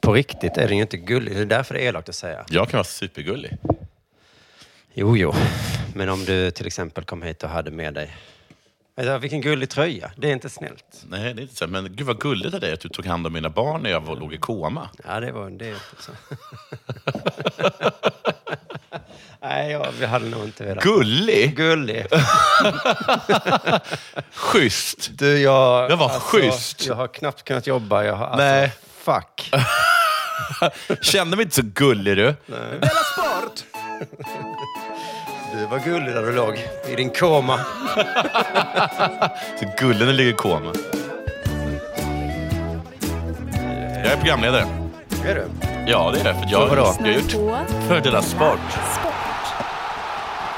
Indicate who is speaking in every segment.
Speaker 1: På riktigt är den ju inte gullig. Det är därför det är elakt att säga.
Speaker 2: Jag kan vara supergullig.
Speaker 1: Jo, jo. Men om du till exempel kom hit och hade med dig... Alltså, vilken gullig tröja. Det är inte snällt.
Speaker 2: Nej, det är inte så. Men gud vad gulligt av dig att du tog hand om mina barn när jag var- låg i koma.
Speaker 1: Ja, det var det är inte så. Nej, jag, vi hade nog inte velat...
Speaker 2: Gullig?
Speaker 1: Gullig.
Speaker 2: Schysst!
Speaker 1: Du, jag... alltså,
Speaker 2: Det var schysst.
Speaker 1: Jag har knappt kunnat jobba. Jag har, alltså,
Speaker 2: Nej.
Speaker 1: Fuck.
Speaker 2: Kände mig inte så gullig du.
Speaker 1: Du var gullig där du låg i din koma.
Speaker 2: Så gullig när du ligger i koma. Jag är programledare.
Speaker 1: Är du?
Speaker 2: Ja, det är det. För jag,
Speaker 1: För vadå?
Speaker 2: jag har gjort för Della Sport.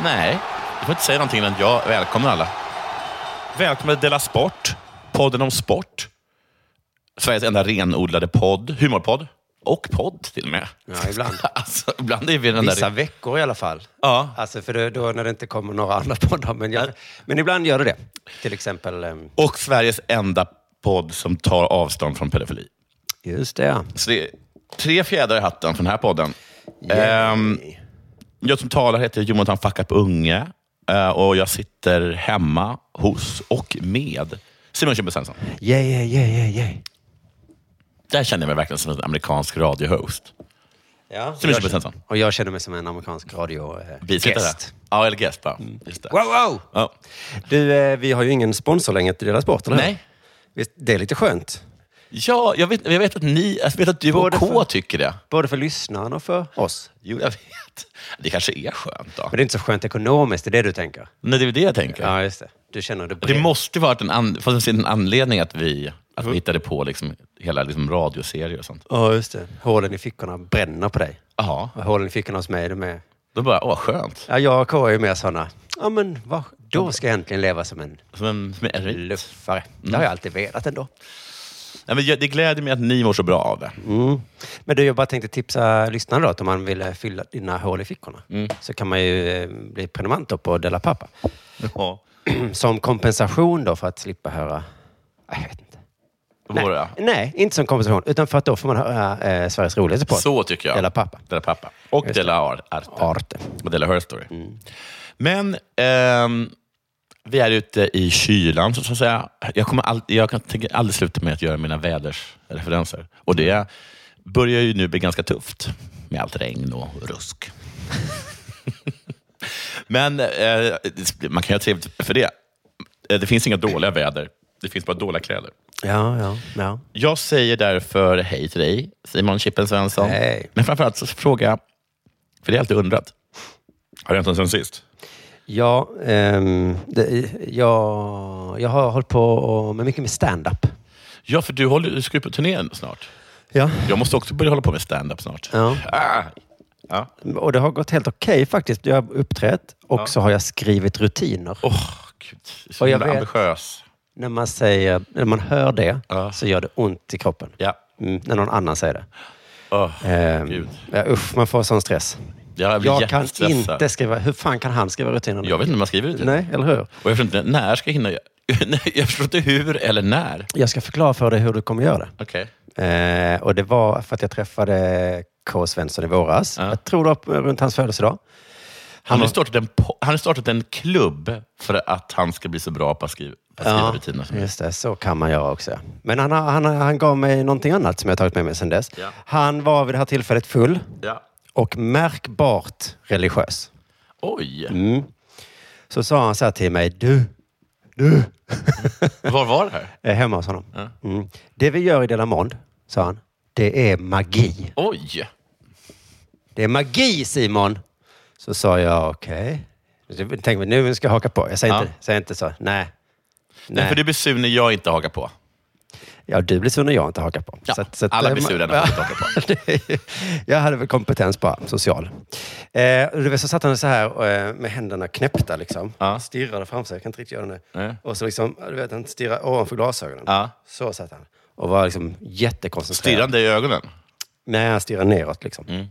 Speaker 2: Nej, du får inte säga någonting innan jag välkomnar alla. Välkomna till Della Sport, podden om sport. Sveriges enda renodlade podd, humorpodd. Och podd till och med.
Speaker 1: Ja, ibland.
Speaker 2: Alltså, ibland är vi den
Speaker 1: Vissa
Speaker 2: där...
Speaker 1: veckor i alla fall.
Speaker 2: Ja.
Speaker 1: Alltså för det, då när det inte kommer några andra poddar. Men, jag, men ibland gör det det. Till exempel... ehm,
Speaker 2: Och Sveriges enda podd som tar avstånd från pedofili.
Speaker 1: Just det, ja.
Speaker 2: Så det är tre fjädrar i hatten för den här podden.
Speaker 1: Yay.
Speaker 2: Ehm, jag som talar heter Jonathan Fuckup Unge eh, och jag sitter hemma hos och med Simon Kjempe Svensson.
Speaker 1: Yeah, yeah, yeah, yeah, yeah.
Speaker 2: Där känner jag mig verkligen som en amerikansk radiohost.
Speaker 1: Ja,
Speaker 2: Simon
Speaker 1: jag
Speaker 2: Kjempe
Speaker 1: känner-
Speaker 2: Svensson.
Speaker 1: och jag känner mig som en amerikansk radiogäst. Eh,
Speaker 2: Bisittare.
Speaker 1: gäst.
Speaker 2: Ja, eller gäst bara. Just det.
Speaker 1: Wow, wow!
Speaker 2: Ja.
Speaker 1: Du, eh, vi har ju ingen sponsor längre till Dela Sport, eller hur?
Speaker 2: Nej.
Speaker 1: Visst, Det är lite skönt.
Speaker 2: Ja, jag vet, jag vet att ni, jag vet att du och
Speaker 1: Både
Speaker 2: K
Speaker 1: för-
Speaker 2: tycker det.
Speaker 1: Både för lyssnaren och för oss.
Speaker 2: Jo, jag vet. Det kanske är skönt då.
Speaker 1: Men det är inte så skönt ekonomiskt, det är det du tänker?
Speaker 2: Nej, det är väl det jag tänker.
Speaker 1: Ja, just det. Du känner det
Speaker 2: Det
Speaker 1: brett.
Speaker 2: måste ju varit en, an, fast det är en anledning att vi, att
Speaker 1: Mm.
Speaker 2: vi hittade på liksom, hela liksom, radioserier och sånt.
Speaker 1: Ja, just det. Hålen i fickorna bränner på dig.
Speaker 2: Jaha.
Speaker 1: Och Hålen i fickorna hos mig, de är...
Speaker 2: Då bara, åh skönt.
Speaker 1: Ja, jag och K är ju mer sådana. Ja, men vad, då ska jag äntligen leva som en
Speaker 2: Som en, som en erit.
Speaker 1: luffare. Det har jag alltid velat ändå.
Speaker 2: Nej, men jag- det gläder mig att ni mår så bra av det.
Speaker 1: Mm. Men du, jag bara tänkte tipsa lyssnarna då att om man vill eh, fylla dina hål i fickorna så kan man ju eh, bli prenumerant då på Della Pappa.
Speaker 2: Ja.
Speaker 1: Som kompensation då för att slippa höra... Jag vet inte.
Speaker 2: Våra.
Speaker 1: Nej, inte som kompensation. Utan för att då får man höra eh, Sveriges roligaste podd.
Speaker 2: Så tycker jag.
Speaker 1: Della Pappa.
Speaker 2: Della Pappa. Och
Speaker 1: Just det.
Speaker 2: Della Ar- Arte.
Speaker 1: Arte.
Speaker 2: Och Della Her Story. Men ehm, vi är ute i kylan, så så att säga. Jag, kommer all, jag kan, tänker aldrig sluta med att göra mina vädersreferenser. Och det börjar ju nu bli ganska tufft med allt regn och rusk. Men eh, man kan ju ha trevligt för det. Eh, Det finns inga dåliga väder. Det finns bara dåliga kläder.
Speaker 1: Ja, ja, ja.
Speaker 2: Jag säger därför hej till dig, Simon Chippen Svensson.
Speaker 1: Hej.
Speaker 2: Men framförallt så fråga, för det har jag alltid undrat. Har det hänt något sen sist?
Speaker 1: Ja, ehm, det, jag, jag har hållit på och, med mycket med stand-up.
Speaker 2: Ja, för du, håller, du ska ju på turné snart.
Speaker 1: Ja.
Speaker 2: Jag måste också börja hålla på med stand-up snart.
Speaker 1: Ja.
Speaker 2: Ah. Ja.
Speaker 1: Och det har gått helt okej faktiskt. Jag har uppträtt och så har jag skrivit rutiner.
Speaker 2: Åh, gud. Jag är så
Speaker 1: Och jag
Speaker 2: himla
Speaker 1: vet-
Speaker 2: ambitiös.
Speaker 1: När man, säger, när man hör det
Speaker 2: Ja.
Speaker 1: så gör det ont i kroppen.
Speaker 2: Ja.
Speaker 1: Mm, när någon annan säger det.
Speaker 2: Åh,
Speaker 1: Ehm,
Speaker 2: Gud.
Speaker 1: ja, usch, man får sån stress.
Speaker 2: Jag, blir
Speaker 1: Jag kan
Speaker 2: jättestressad.
Speaker 1: inte skriva... Hur fan kan han skriva rutinerna?
Speaker 2: Jag vet inte hur man skriver det.
Speaker 1: Nej, eller hur?
Speaker 2: Och jag förstår inte när ska jag hinna... Nej, jag förstår inte hur eller när.
Speaker 1: Jag ska förklara för dig hur du kommer göra det.
Speaker 2: Okej.
Speaker 1: Eh, och det var för att jag träffade K. Svensson i våras.
Speaker 2: Ja.
Speaker 1: Jag tror det var runt hans födelsedag.
Speaker 2: Han har startat en, po- han har startat en klubb för att han ska bli så bra på att skriva, på att skriva rutiner som möjligt.
Speaker 1: just det. Så kan man göra också. Men han, har- han, har- han gav mig någonting annat som jag tagit med mig sedan dess.
Speaker 2: Ja.
Speaker 1: Han var vid det här tillfället full
Speaker 2: Ja.
Speaker 1: och märkbart religiös.
Speaker 2: Oj!
Speaker 1: Så sa han så här till mig. Du,
Speaker 2: Var var det här?
Speaker 1: är hemma hos honom. Mm. Det vi gör i Dela Mond, sa han, det är magi.
Speaker 2: Oj!
Speaker 1: Det är magi, Simon! Så sa jag, okej. Okay. Tänk mig, nu ska jag haka på. Jag säger,
Speaker 2: Ja.
Speaker 1: inte, säger inte så. Nej.
Speaker 2: Nej.
Speaker 1: Nej.
Speaker 2: För du blir sur när jag inte hakar på.
Speaker 1: Ja, du blir sur när jag inte hakar på.
Speaker 2: Ja,
Speaker 1: Så att- så att-
Speaker 2: alla
Speaker 1: eh,
Speaker 2: blir sura när
Speaker 1: ja.
Speaker 2: jag inte hakar på.
Speaker 1: jag hade väl kompetens bara, social. Eh, och du vet, så satt han så här eh, med händerna knäppta liksom.
Speaker 2: Ja.
Speaker 1: Stirrade framför sig, jag kan inte riktigt göra det nu.
Speaker 2: Nej.
Speaker 1: Och så liksom, du vet, han stirrade ovanför glasögonen.
Speaker 2: Ja.
Speaker 1: Så satt han. Och var liksom jättekoncentrerad.
Speaker 2: Stirrande i ögonen.
Speaker 1: Nej, han stirrar neråt liksom.
Speaker 2: Mm.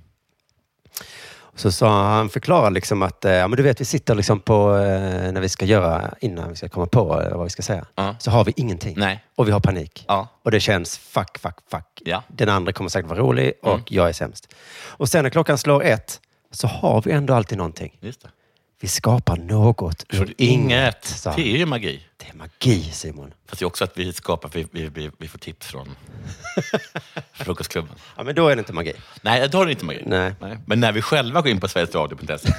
Speaker 1: Så sa han, förklarade liksom att, eh, ja men du vet vi sitter liksom på, eh, när vi ska göra, innan vi ska komma på eh, vad vi ska säga,
Speaker 2: Ja.
Speaker 1: så har vi ingenting.
Speaker 2: Nej.
Speaker 1: Och vi har panik.
Speaker 2: Ja.
Speaker 1: Och det känns fuck, fuck, fuck.
Speaker 2: Ja. Mm.
Speaker 1: Den andra kommer säkert vara rolig och jag är sämst. Och sen när klockan slår ett så har vi ändå alltid någonting.
Speaker 2: Just det.
Speaker 1: Vi skapar något ur inget. sa han.
Speaker 2: Det är ju magi.
Speaker 1: Det är magi Simon.
Speaker 2: Fast det är också att vi skapar, vi, vi, vi, vi får tips från Frukostklubben.
Speaker 1: Ja men då är det inte magi.
Speaker 2: Nej, då är det inte magi.
Speaker 1: Nej.
Speaker 2: Men när vi själva går in på sverigesradio.se.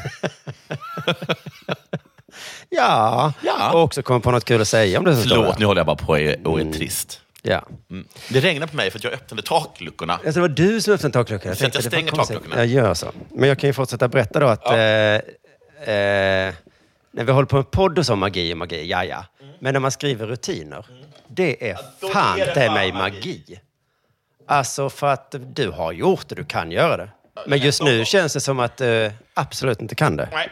Speaker 1: Ja.
Speaker 2: Ja.
Speaker 1: Och också komma på något kul att säga om det. så står
Speaker 2: Förlåt,
Speaker 1: där.
Speaker 2: nu håller jag bara på och är, och är trist.
Speaker 1: Ja.
Speaker 2: Mm. Det regnar på mig för att jag öppnade takluckorna.
Speaker 1: Alltså det var du som öppnade takluckan.
Speaker 2: Så att jag
Speaker 1: tänkte, det var
Speaker 2: stänger
Speaker 1: konstigt.
Speaker 2: takluckorna.
Speaker 1: Jag gör så. Men jag kan ju fortsätta berätta då att eh, eh, när vi håller på med podd och så, magi och magi, ja ja. Men när man skriver rutiner, det är
Speaker 2: då
Speaker 1: fan
Speaker 2: är det
Speaker 1: det
Speaker 2: fan
Speaker 1: mig
Speaker 2: magi.
Speaker 1: magi. Alltså för att du har gjort det, du kan göra det. Men just nu känns det som att du absolut inte kan det.
Speaker 2: Nej,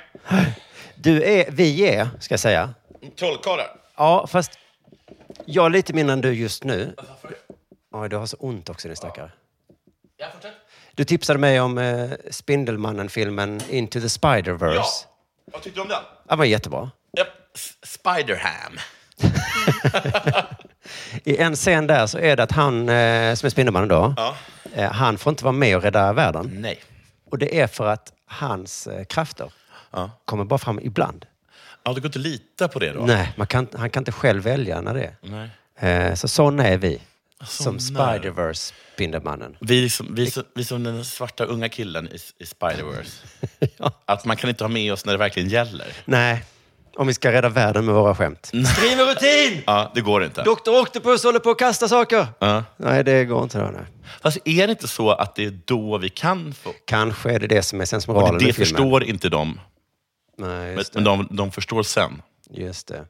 Speaker 1: Du är, vi är, ska jag säga.
Speaker 2: trollkarlar.
Speaker 1: Ja, fast jag är lite mindre än du just nu. Oj, du har så ont också din stackare.
Speaker 2: Ja, fortsätt.
Speaker 1: Du tipsade mig om eh, Spindelmannen-filmen Into the Spider-Verse.
Speaker 2: Ja.
Speaker 1: Ja.
Speaker 2: Vad tyckte du om den?
Speaker 1: Den var jättebra.
Speaker 2: Japp. S- Spiderham.
Speaker 1: I en scen där så är det att han, eh, som är Spindelmannen då, eh, han får inte vara med och rädda världen.
Speaker 2: Nej.
Speaker 1: Och det är för att hans eh, krafter kommer bara fram ibland.
Speaker 2: Ja, det går inte att lita på det då?
Speaker 1: Nej, man kan, han kan inte själv välja när det
Speaker 2: Nej.
Speaker 1: är. Eh, så sådana är vi. som
Speaker 2: nej.
Speaker 1: Spider-Verse, Spindelmannen.
Speaker 2: Vi, är som, vi, är som, vi är som den svarta unga killen i, i Spider-Verse. Att man kan inte ha med oss när det verkligen gäller.
Speaker 1: Nej, om vi ska rädda världen med våra skämt. Skriv en rutin!
Speaker 2: Ja, det går inte.
Speaker 1: Mm. Doktor Octopus håller på att kasta saker!
Speaker 2: Ja.
Speaker 1: Nej, det går inte då. Nej.
Speaker 2: Fast är det inte så att det är då vi kan få...
Speaker 1: Kanske är det det som är
Speaker 2: Och
Speaker 1: sensmoralen
Speaker 2: det
Speaker 1: med filmen.
Speaker 2: förstår inte de.
Speaker 1: Nej,
Speaker 2: Men,
Speaker 1: just,
Speaker 2: men de, de förstår sen.
Speaker 1: just det.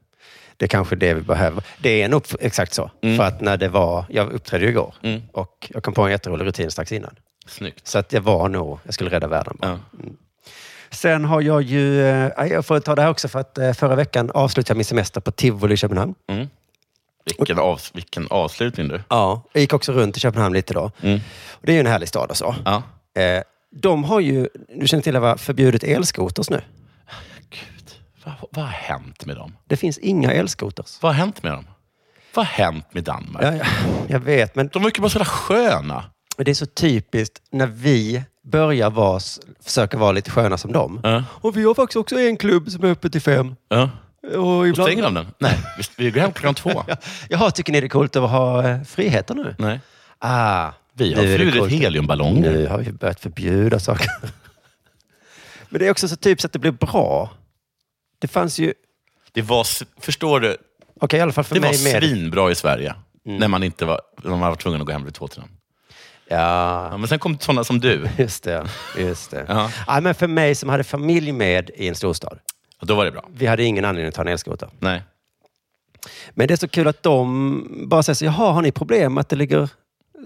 Speaker 1: Det är kanske är det vi behöver. Det är nog exakt så.
Speaker 2: Mm.
Speaker 1: För att när det var... Jag uppträdde ju igår och jag kom på en jätterolig rutin strax innan.
Speaker 2: Snyggt.
Speaker 1: Så att jag var nog... Jag skulle rädda världen bara. Mm. Sen har jag ju... eh, Jag får ta det här också för att eh, förra veckan avslutade jag min semester på Tivoli i Köpenhamn.
Speaker 2: Vilken, avs, vilken avslutning du.
Speaker 1: Ja. Jag gick också runt i Köpenhamn lite då. Och det är ju en härlig stad och så.
Speaker 2: Mm. Ja.
Speaker 1: Eh, De har ju, du känner till det va, förbjudit elskoters nu.
Speaker 2: Gud, vad, vad har hänt med dem?
Speaker 1: Det finns inga elskoters.
Speaker 2: Vad har hänt med dem? Vad har hänt med Danmark?
Speaker 1: Ja, ja, jag vet, men
Speaker 2: De verkar vara så jävla sköna.
Speaker 1: Och Det är så typiskt när vi börjar vara, försöka vara lite sköna som dem.
Speaker 2: Ja.
Speaker 1: Och vi har faktiskt också en klubb som är uppe till fem.
Speaker 2: Ja.
Speaker 1: Och
Speaker 2: Och
Speaker 1: ibland...
Speaker 2: stänger de den? Nej, vi- vi går hem klockan två.
Speaker 1: Jaha, tycker ni det är coolt att ha eh, friheter nu?
Speaker 2: Nej.
Speaker 1: Ah,
Speaker 2: Vi har
Speaker 1: nu är det
Speaker 2: förbjudit
Speaker 1: coolt.
Speaker 2: heliumballonger.
Speaker 1: Nu har vi börjat förbjuda saker. Men det är också så typiskt att det blir bra. Det fanns ju, okej
Speaker 2: Det var, s- förstår du,
Speaker 1: i alla fall för
Speaker 2: det var
Speaker 1: mig med.
Speaker 2: svinbra i Sverige. När man inte var, när man var tvungen att gå hem vid tvåtiden.
Speaker 1: Ja,
Speaker 2: Ja, men sen kom sådana som du.
Speaker 1: just det. Just det.
Speaker 2: Ja.
Speaker 1: Ah, men för mig som hade familj med i en storstad.
Speaker 2: Och då var det bra.
Speaker 1: Vi hade ingen anledning att ta en elskoter.
Speaker 2: Nej.
Speaker 1: Men det är så kul att de bara säger så, jaha, har ni problem att det ligger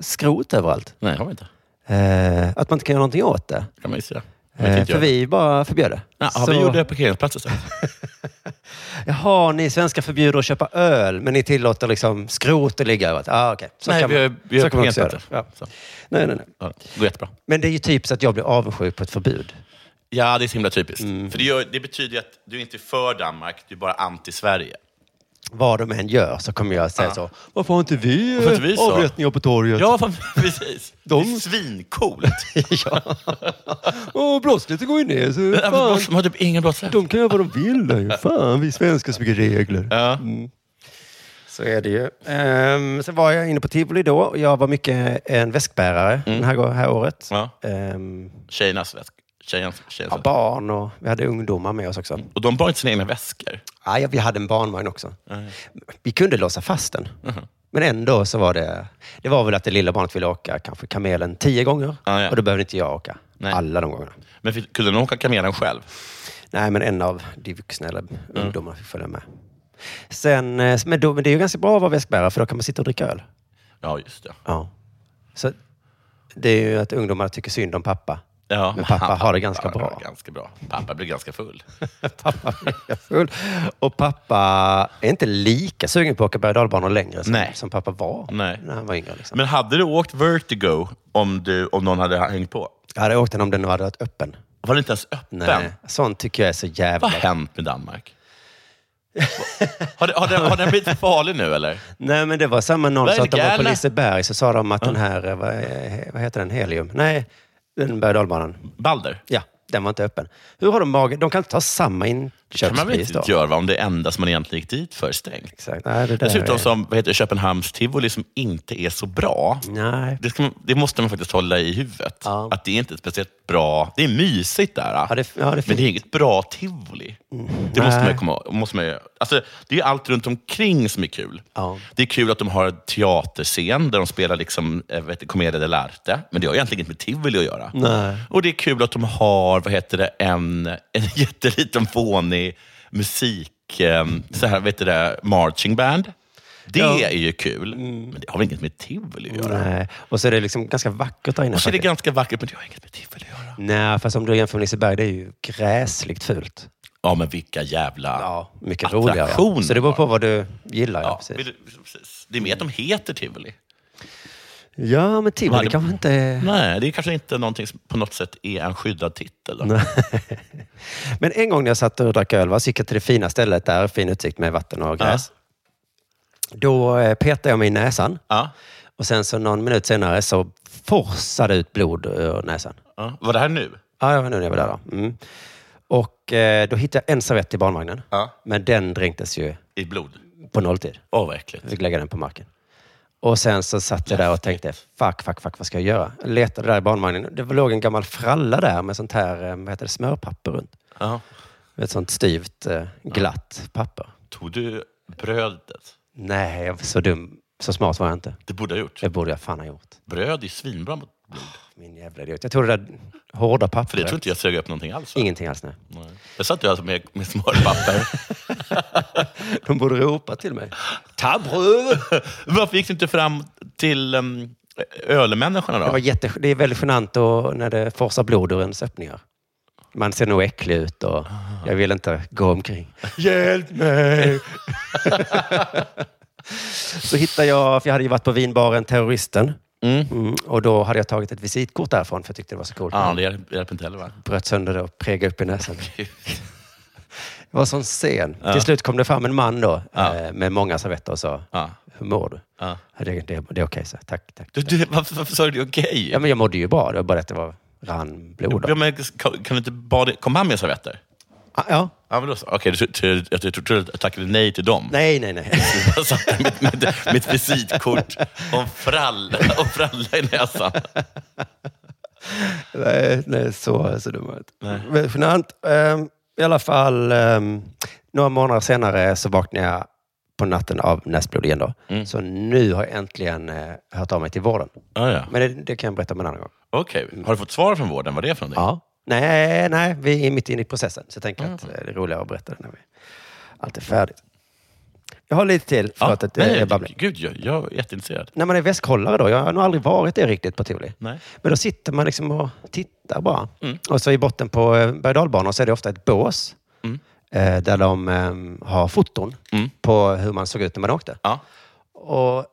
Speaker 1: skrot överallt?
Speaker 2: Nej, det har vi inte.
Speaker 1: Eh, att man inte kan göra någonting åt det?
Speaker 2: kan man ju säga. Men
Speaker 1: Eh,
Speaker 2: inte
Speaker 1: för
Speaker 2: jag.
Speaker 1: vi bara förbjöd det.
Speaker 2: Ja, ja, Vi gjorde parkeringsplatser sen.
Speaker 1: Jaha, ni svenskar förbjuder att köpa öl, men ni tillåter liksom skrot att ligga överallt? Ah, okay. Så
Speaker 2: Nej,
Speaker 1: kan
Speaker 2: vi
Speaker 1: man,
Speaker 2: har, vi har
Speaker 1: så kan man också göra det. Ja.
Speaker 2: parkeringsplatser. Så.
Speaker 1: Nej, nej, nej.
Speaker 2: Ja, det går jättebra.
Speaker 1: Men det är ju typiskt att jag blir avundsjuk på ett förbud. Mm.
Speaker 2: Ja, det är så himla typiskt. För det, gör, det betyder ju att du inte är för Danmark, du är bara anti-Sverige.
Speaker 1: vad de än gör så kommer jag säga så. Varför har inte vi,
Speaker 2: Varför har inte vi
Speaker 1: eh,
Speaker 2: så?"
Speaker 1: avrättningar på torget?
Speaker 2: Ja, fan, precis.
Speaker 1: De-
Speaker 2: Det är svincoolt.
Speaker 1: ja. Och brottsligheten går ju ner. Så
Speaker 2: Ja, men
Speaker 1: fan,
Speaker 2: Boston har typ ingen brottsrätt.
Speaker 1: de kan göra vad de vill. där ju. Fan, vi svenskar så mycket regler.
Speaker 2: Ja.
Speaker 1: Mm. Så är det ju. Ehm, sen var jag inne på Tivoli då. och Jag var mycket en väskbärare den här, gå- här året.
Speaker 2: Mm. Ja.
Speaker 1: Ehm,
Speaker 2: Tjejernas väsk. Tjejernas, tjejernas
Speaker 1: ja,
Speaker 2: väsk.
Speaker 1: barn och vi hade ungdomar med oss också.
Speaker 2: Och de bar inte sina egna väskor.
Speaker 1: Ja, ja, vi hade en barnvagn också. Vi kunde låsa fast den.
Speaker 2: Mm-hmm.
Speaker 1: Men ändå så var det... Det var väl att det lilla barnet ville åka kanske kamelen tio gånger.
Speaker 2: Ja, ja.
Speaker 1: Och då behövde inte jag åka
Speaker 2: Nej.
Speaker 1: alla de gångerna.
Speaker 2: Men fick- kunde de åka kamelen själv?
Speaker 1: Nej, men en av de vuxna eller
Speaker 2: Mm.
Speaker 1: ungdomarna fick följa med. Sen, eh, men, då, men det är ju ganska bra att vara väskbärare för då kan man sitta och dricka öl.
Speaker 2: Ja, just det.
Speaker 1: Ja. Så det är ju att ungdomarna tycker synd om pappa.
Speaker 2: Ja,
Speaker 1: Men pappa har det ganska
Speaker 2: pappa har
Speaker 1: bra.
Speaker 2: det ganska bra. Pappa blir ganska full.
Speaker 1: pappa är full. Och pappa är inte lika sugen på att åka berg och dalbanor längre som,
Speaker 2: Nej.
Speaker 1: som pappa var
Speaker 2: Nej.
Speaker 1: när han var yngre. Liksom.
Speaker 2: Men hade du åkt Vertigo om, du, om någon hade hängt på?
Speaker 1: Jag hade åkt den om den nu hade varit öppen.
Speaker 2: Var det inte ens öppen?
Speaker 1: Nej. Sånt tycker jag är så jävla...
Speaker 2: Vad har hänt med Danmark? har, det, har, den, har den blivit för farlig nu eller?
Speaker 1: Nej, men det var samma någon
Speaker 2: Vad är
Speaker 1: som sa att de
Speaker 2: det
Speaker 1: var på
Speaker 2: galna?
Speaker 1: Liseberg så sa de att den här, eh, vad, eh, vad heter den, Helium? Nej, den berg och dalbanan.
Speaker 2: Balder?
Speaker 1: Ja, den var inte öppen. Hur har de mage? De kan inte ta samma
Speaker 2: Det kan man väl
Speaker 1: inköpspris
Speaker 2: inte
Speaker 1: då?
Speaker 2: göra va, om det enda som man egentligen gick dit för är stängt?
Speaker 1: Exakt. Nej, det där är-
Speaker 2: Dessutom som vad heter det, Köpenhamns tivoli som inte är så bra.
Speaker 1: Nej.
Speaker 2: Det, ska man, det måste man faktiskt hålla i huvudet.
Speaker 1: Ja.
Speaker 2: Att det är inte är speciellt bra. Det är mysigt där.
Speaker 1: Ja, det- ja, det är
Speaker 2: men
Speaker 1: fint.
Speaker 2: det är inget bra tivoli. Det måste man,
Speaker 1: Nej.
Speaker 2: ju komma, måste man, ju- alltså, det är allt runt omkring som är kul.
Speaker 1: Ja.
Speaker 2: Det är kul att de har en teaterscen där de spelar liksom, eh, vad heter, Commedia dell'arte. Men det har egentligen inget med tivoli att göra.
Speaker 1: Nej.
Speaker 2: Och det är kul att de har vad heter det, en, en jätteliten fånig musik, eh, så här, vad heter det, marching band. Det
Speaker 1: Ja. Mm.
Speaker 2: är ju kul, men det har väl inget med tivoli att göra?
Speaker 1: Nej. Och så är det liksom ganska vackert där inne.
Speaker 2: Och så är Alltså, det
Speaker 1: faktiskt.
Speaker 2: ganska vackert, men det har inget med tivoli att göra.
Speaker 1: Nej, fast om du jämför med Liseberg, det är ju gräsligt fult.
Speaker 2: Ja, men vilka jävla...
Speaker 1: Ja, mycket
Speaker 2: Attraktion.
Speaker 1: roligare. Ja. Så det beror på vad du gillar. Ja,
Speaker 2: Ja,
Speaker 1: precis.
Speaker 2: vill du- precis. Det är mer att de heter tivoli.
Speaker 1: ja men
Speaker 2: Vad
Speaker 1: Tivoli
Speaker 2: hade-
Speaker 1: kanske inte...
Speaker 2: Nej, det är kanske inte någonting som på något sätt är en skyddad titel. då.
Speaker 1: Men en gång när jag satt och drack öl, va, så gick jag till det fina stället där, fin utsikt med vatten och gräs. Då eh, petade jag mig i näsan
Speaker 2: Ja.
Speaker 1: och sen så någon minut senare så forsade ut blod ur näsan.
Speaker 2: Ja. Var det här nu?
Speaker 1: Ja, jag var nu när jag var där då. Mm. Och eh, då hittade jag en servett i barnvagnen.
Speaker 2: Ja.
Speaker 1: Men den dränktes ju
Speaker 2: I blod?
Speaker 1: på nolltid.
Speaker 2: Åh, vad äckligt.
Speaker 1: Jag fick lägga den på marken. Och sen så satt jag där och tänkte, fuck, fuck, fuck, vad ska jag göra? Jag letade där i barnvagnen. Det låg en gammal fralla där med sånt här, eh, vad heter det, smörpapper runt.
Speaker 2: Ja.
Speaker 1: Ett sånt styvt, eh, glatt papper.
Speaker 2: Tog du brödet?
Speaker 1: Nej, jag var så dum. Så smart var jag inte.
Speaker 2: Det borde ha gjort.
Speaker 1: Det borde jag fan ha gjort.
Speaker 2: Bröd är svinbra mot blod.
Speaker 1: Min jävla idiot. Jag tog det där hårda pappret.
Speaker 2: För det tror inte jag sög upp någonting alls. va?
Speaker 1: Ingenting alls, nej.
Speaker 2: Nej. Jag satt ju alltså med, med smörpapper.
Speaker 1: De borde ropa till mig.
Speaker 2: Tabröd! Varför gick du inte fram till um, ölmänniskorna
Speaker 1: Det, var
Speaker 2: då?
Speaker 1: jätte, det är väldigt genant att- när det forsar blod ur ens öppningar. Man ser nog äcklig ut och jag vill inte gå omkring. Hjälp mig! så hittade jag, för jag hade ju varit på vinbaren Terroristen. Mm, och då hade jag tagit ett visitkort därifrån för jag tyckte det var så coolt.
Speaker 2: Ja, det hjälper hjälper inte heller va?
Speaker 1: Bröt sönder det och pregade upp i näsan. Det var sån scen. Till slut kom det fram en man då eh, med många servetter och sa,
Speaker 2: Ja.
Speaker 1: hur mår du?
Speaker 2: Ja.
Speaker 1: "Ja, Det, det, det är okej, så. Tack, tack.
Speaker 2: Du, du, varför, varför sa du det okej?
Speaker 1: Ja, men jag mådde ju bra. Det var bara att det var rann blod.
Speaker 2: Ja, men kan kan du inte bara... Kom han med servetter?
Speaker 1: Ah, ja.
Speaker 2: Ja, men då så. Okej, du- du- jag tror- tror du tackade nej till dem.
Speaker 1: Nej, nej, nej.
Speaker 2: Jag satt med mitt, mitt visitkort och en fralla, och fralla i näsan.
Speaker 1: nej, nej så, så dum var jag inte. Men Genant. Ehm, I alla fall, ehm, några månader senare så vaknade jag på natten av näsblod igen. Då. Så nu har jag äntligen eh, hört av mig till vården.
Speaker 2: Ah, ja.
Speaker 1: Men det, det kan jag berätta om en annan gång.
Speaker 2: Okej, har du fått svar från vården? Vad det är för någonting?
Speaker 1: Ja. Nej, nej, vi är mitt inne i processen. Så jag tänker att eh, det är roligare att berätta det när vi allt är färdigt. Jag har lite till.
Speaker 2: Ja,
Speaker 1: Förlåt att eh,
Speaker 2: nej,
Speaker 1: jag babblar.
Speaker 2: Gud, jag, jag är jätteintresserad.
Speaker 1: när man är väskhållare då, jag har nog aldrig varit det riktigt på Tivoli.
Speaker 2: Nej.
Speaker 1: Men då sitter man liksom och tittar bara. Och så i botten på eh, berg och dalbanor så är det ofta ett bås eh, där de eh, har foton på hur man såg ut när man åkte.
Speaker 2: Ja.
Speaker 1: Och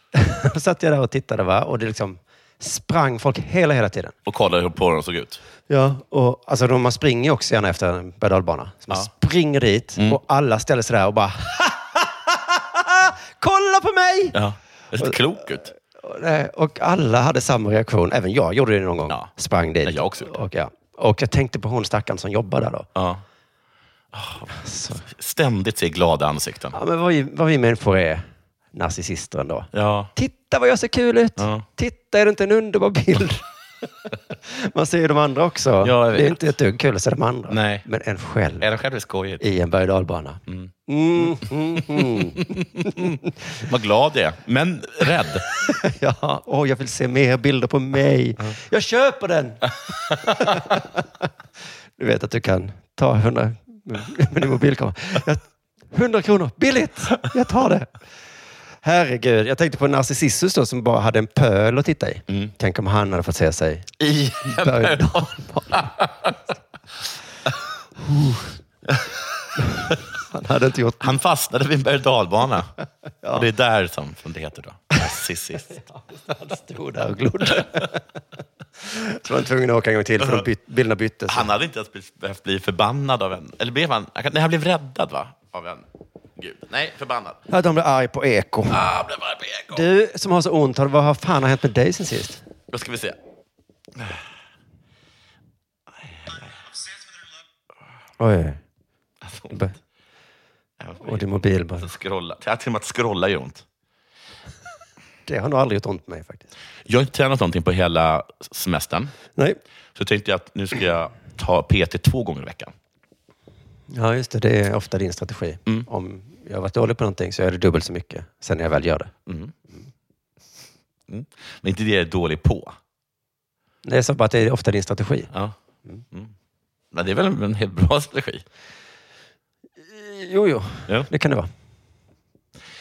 Speaker 1: då satt jag där och tittade va? och det liksom sprang folk hela, hela tiden.
Speaker 2: Och kollade hur på de såg ut.
Speaker 1: Ja, och alltså, de, man springer ju Mm. också gärna efter en berg och dalbana. Så man springer dit och alla ställer sig där och bara nej!
Speaker 2: Ja. Det ser inte klok ut.
Speaker 1: Och, nej, Och alla hade samma reaktion. Även jag gjorde det någon gång.
Speaker 2: Ja.
Speaker 1: Sprang dit.
Speaker 2: Nej, jag också gjorde det.
Speaker 1: Och, ja. och jag tänkte på hon stackaren som jobbar där då.
Speaker 2: Ja. Ah, Ständigt se glada ansikten.
Speaker 1: Ja, men vad, vi, vad vi människor är narcissister ändå.
Speaker 2: Ja.
Speaker 1: Titta vad jag ser kul ut!
Speaker 2: Ja.
Speaker 1: Titta, är det inte en underbar bild? Man ser ju de andra också.
Speaker 2: jag
Speaker 1: det är
Speaker 2: vet.
Speaker 1: inte ett dugg kul att se de andra.
Speaker 2: Nej.
Speaker 1: Men en själv
Speaker 2: Är det själv är skojigt?
Speaker 1: i en berg och dalbana. Mm, mm, mm.
Speaker 2: Vad glad jag är, men rädd.
Speaker 1: Ja, åh, jag vill se mer bilder på mig. Jag köper den! du vet att du kan ta 100 med din mobilkamera. Jag, 100 kronor, billigt! Jag tar det. Herregud, jag tänkte på Narcissus då som bara hade en pöl att titta i. Tänk om han hade fått se sig
Speaker 2: I en
Speaker 1: berg
Speaker 2: pöl.
Speaker 1: Han hade inte gjort...
Speaker 2: Han fastnade vid en berg och dalbana. Och det är där som, som det heter då. Narcissist.
Speaker 1: Han stod där och glodde. Så var han tvungen att åka en gång till för de byt, bilderna byttes.
Speaker 2: Han hade inte ens blivit- behövt bli förbannad av en... Eller blev han? han kan- Nej, han blev räddad va? Av en gud. Nej, förbannad.
Speaker 1: Ja, de blev arg på eko.
Speaker 2: Ah, blev bara på eko.
Speaker 1: Du som har så ont, har- vad har fan har hänt med dig sen sist?
Speaker 2: Då ska vi se.
Speaker 1: Oj.
Speaker 2: Alltså,
Speaker 1: Be- Och din mobil bara.
Speaker 2: Scrolla. Till till och med att scrolla gör ont.
Speaker 1: Det har nog aldrig gjort ont på mig faktiskt.
Speaker 2: Jag har inte tränat någonting på hela semestern.
Speaker 1: Nej.
Speaker 2: Så tänkte jag att nu ska jag ta PT två gånger i veckan.
Speaker 1: Ja, just det. Det är ofta din strategi. Om jag har varit dålig på någonting så gör jag det dubbelt så mycket sen när jag väl gör det.
Speaker 2: Mm. Men inte det jag är dålig på.
Speaker 1: Det är så bara att det är ofta din strategi.
Speaker 2: Ja. Mm. Men det är väl en en helt bra strategi?
Speaker 1: Jo, jo.
Speaker 2: Ja.
Speaker 1: Det kan det vara.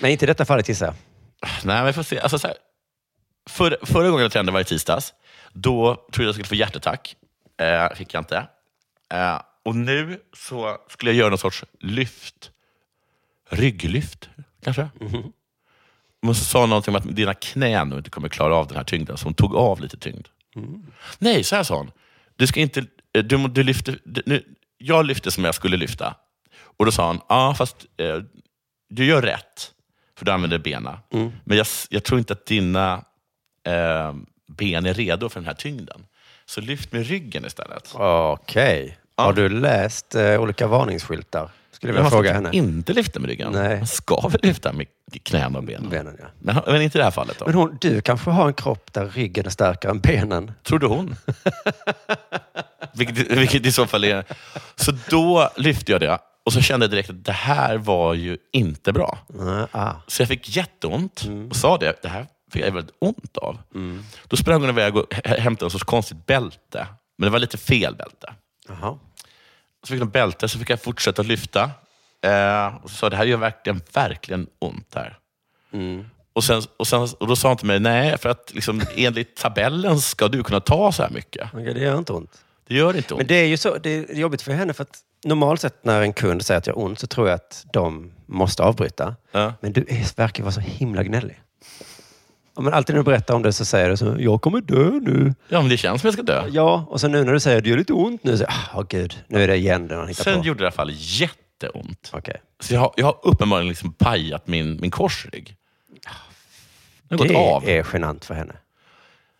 Speaker 1: Men inte i detta fallet gissar jag.
Speaker 2: Nej, men vi får se. Alltså, så här. För, förra gången jag tränade var i tisdags. Då trodde jag jag skulle få hjärtattack. Eh, fick jag inte. Eh, och nu så skulle jag göra någon sorts lyft. Rygglyft, kanske? Men så sa hon någonting om att dina knän nog inte kommer klara av den här tyngden, så hon tog av lite tyngd. Nej, så här sa hon. Du ska inte, eh, du, må- du lyfter, du, nu, jag lyfte som jag skulle lyfta. Och då sa hon, ja fast eh, du gör rätt, för du använder benen.
Speaker 1: Mm.
Speaker 2: Men jag, s- jag tror inte att dina eh, ben är redo för den här tyngden. Så lyft med ryggen istället.
Speaker 1: Okej. Har du läst eh, olika varningsskyltar? Skulle jag vilja fråga
Speaker 2: man
Speaker 1: henne.
Speaker 2: ska inte lyfta med ryggen.
Speaker 1: Nej.
Speaker 2: Man ska väl lyfta med knäna och benen?
Speaker 1: Benen, ja.
Speaker 2: Men, men inte i det här fallet då?
Speaker 1: Men hon, du kanske har en kropp där ryggen är starkare än benen?
Speaker 2: Trodde hon. vilket, vilket i så fall är... Så då lyfte jag det och så kände jag direkt att det här var ju inte bra.
Speaker 1: Nej, ah.
Speaker 2: Så jag fick jätteont
Speaker 1: Mm.
Speaker 2: och sa det. Det här fick jag väldigt ont av. Då sprang hon iväg och hä- hämtade en sorts konstigt bälte. Men det var lite fel bälte.
Speaker 1: Jaha.
Speaker 2: Så fick de bälte, så fick jag fortsätta lyfta. Eh, och så sa jag, det här gör verkligen, verkligen ont här.
Speaker 1: Mm.
Speaker 2: Och, sen, och, sen, och då sa han till mig, nej, för att liksom, enligt tabellen ska du kunna ta så här mycket.
Speaker 1: Okej, det gör inte ont.
Speaker 2: Det gör inte ont.
Speaker 1: Men det är ju så, det är jobbigt för henne för att normalt sett när en kund säger att jag har ont så tror jag att de måste avbryta.
Speaker 2: Ja.
Speaker 1: Men du är, verkar vara så himla gnällig. Ja, men alltid när du berättar om det så säger du så jag kommer dö nu.
Speaker 2: Ja, men det känns som jag ska dö.
Speaker 1: Ja, och sen nu när du säger det gör lite ont nu så, ah åh gud, nu är det igen det man hittar
Speaker 2: Sen
Speaker 1: på.
Speaker 2: gjorde det i alla fall jätteont.
Speaker 1: Okej.
Speaker 2: Så jag har, jag har uppenbarligen liksom pajat min, min korsrygg. Den har gått
Speaker 1: Det
Speaker 2: av.
Speaker 1: är genant för henne.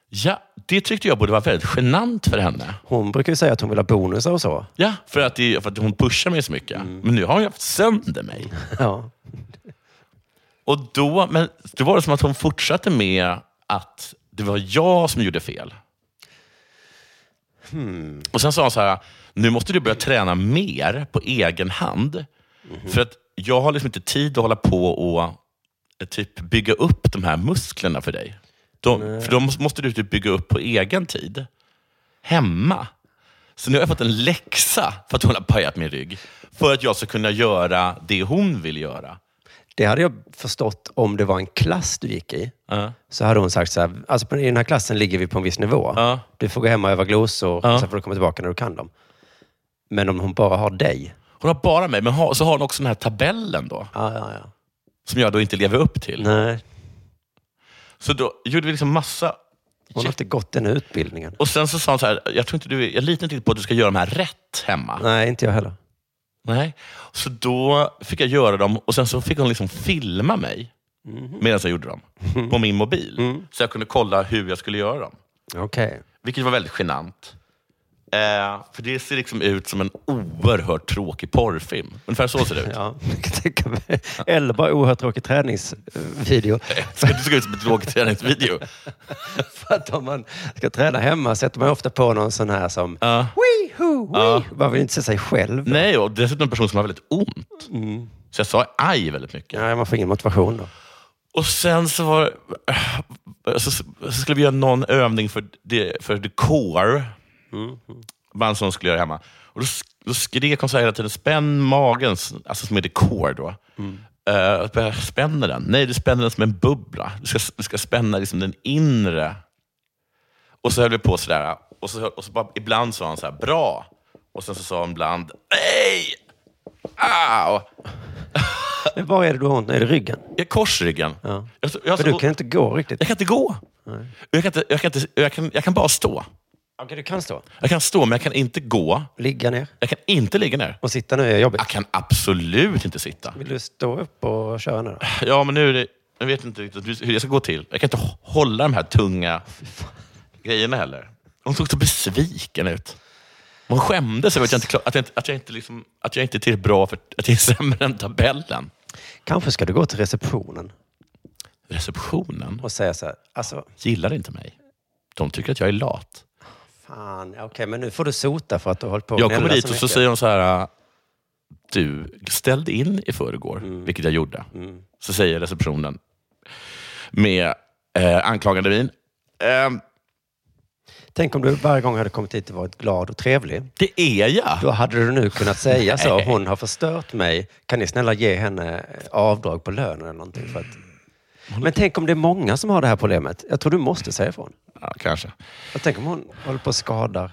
Speaker 2: Ja, det tyckte jag borde vara väldigt genant för henne.
Speaker 1: Hon brukar ju säga att hon vill ha bonusar och så.
Speaker 2: Ja, för att, det, för att hon pushar mig så mycket. Men nu har hon ju haft sönder mig.
Speaker 1: Ja.
Speaker 2: Och då, men då var det som att hon fortsatte med att det var jag som gjorde fel. Och Sen sa hon så här, nu måste du börja träna mer på egen hand. För att jag har liksom inte tid att hålla på och eh, typ bygga upp de här musklerna för dig. De, för de måste- måste du typ bygga upp på egen tid. Hemma. Så nu har jag fått en läxa för att hon har pajat min rygg. För att jag ska kunna göra det hon vill göra.
Speaker 1: Det hade jag förstått om det var en klass du gick i.
Speaker 2: Ja.
Speaker 1: Så hade hon sagt så här, alltså på- i den här klassen ligger vi på en viss nivå.
Speaker 2: Ja.
Speaker 1: Du får gå hem och öva glosor,
Speaker 2: Ja.
Speaker 1: och sen får du komma tillbaka när du kan dem. Men om hon bara har dig.
Speaker 2: Hon har bara mig, men har, så har hon också den här tabellen då,
Speaker 1: Ja, ja, ja.
Speaker 2: som jag då inte lever upp till.
Speaker 1: Nej,
Speaker 2: Så då gjorde vi liksom massa...
Speaker 1: hon har inte gått den här utbildningen.
Speaker 2: Och sen så sa hon så här, jag, tror inte du, är- jag litar inte riktigt på att du ska göra de här rätt hemma.
Speaker 1: Nej, inte jag heller.
Speaker 2: Nej. Så då fick jag göra dem och sen så fick hon liksom filma mig.
Speaker 1: Mhm.
Speaker 2: medan jag gjorde dem. På min mobil.
Speaker 1: Mm.
Speaker 2: Så jag kunde kolla hur jag skulle göra dem.
Speaker 1: Okej.
Speaker 2: Vilket var väldigt genant. Eh, för det ser liksom ut som en oerhört tråkig porrfilm. Ungefär så ser det ut.
Speaker 1: Ja, jag kan tänka mig. Eller bara oerhört tråkig träningsvideo.
Speaker 2: Så Det såg ut som en tråkig träningsvideo.
Speaker 1: För att om man ska träna hemma sätter man ofta på någon sån här som
Speaker 2: Ja.
Speaker 1: Wee-hoo, wee.
Speaker 2: Ja.
Speaker 1: Man vill inte se sig själv.
Speaker 2: Nej, och dessutom en person som har väldigt ont. Så jag sa aj väldigt mycket.
Speaker 1: Nej, man får ingen motivation då.
Speaker 2: Och sen så var så, så skulle vi göra någon övning för, det, för The Core.
Speaker 1: Mm.
Speaker 2: Band som de skulle göra hemma. Och då, sk- då skrek hon så här hela tiden, spänn magen, s- alltså som är The Core då.
Speaker 1: Mm.
Speaker 2: Eh, och bara, spänner den? Nej, du spänner den som en bubbla. Du ska, du ska spänna liksom den inre. Och så höll vi på sådär. Och så, och så bara, ibland sa han så här, bra. Och sen så sa han ibland, nej! Au!
Speaker 1: Men var är det du har ont? Är det ryggen?
Speaker 2: Jag korsryggen.
Speaker 1: Ja.
Speaker 2: Jag, jag,
Speaker 1: För du kan inte gå riktigt.
Speaker 2: jag kan inte gå. Jag kan, inte, jag, kan inte, jag, kan, jag kan bara stå.
Speaker 1: Okej, du kan stå.
Speaker 2: Jag kan stå, men jag kan inte gå.
Speaker 1: Ligga ner.
Speaker 2: Jag kan inte ligga ner.
Speaker 1: Och sitta nu är jobbigt.
Speaker 2: Jag kan absolut inte sitta.
Speaker 1: Vill du stå upp och köra nu då?
Speaker 2: Ja, men nu är det, jag vet inte riktigt hur det ska gå till. Jag kan inte hå- hålla de här tunga grejerna heller. Hon såg så besviken ut. Hon skämdes över att jag inte, klar, att jag inte, att jag inte, liksom, att jag inte är tillräckligt bra, för att jag är sämre än tabellen.
Speaker 1: Kanske ska du gå till receptionen
Speaker 2: Receptionen
Speaker 1: och säga så här. Alltså,
Speaker 2: gillar inte mig. De tycker att jag är lat.
Speaker 1: fan. Okej, men nu får du sota för att du har hållit på
Speaker 2: Jag kommer
Speaker 1: gnälla
Speaker 2: dit och så
Speaker 1: mycket.
Speaker 2: säger de så här, äh, du ställde in i förrgår, vilket jag gjorde. Så säger receptionen med eh, anklagande min. Ehm,
Speaker 1: Tänk om du varje gång hade kommit hit och varit glad och trevlig.
Speaker 2: det är jag.
Speaker 1: Då hade du nu kunnat säga så. Hon har förstört mig. Kan ni snälla ge henne eh, avdrag på lönen eller någonting? För att... Men tänk om det är många som har det här problemet. Jag tror du måste säga ifrån.
Speaker 2: Ja, kanske.
Speaker 1: Jag tänk om hon håller på och skadar.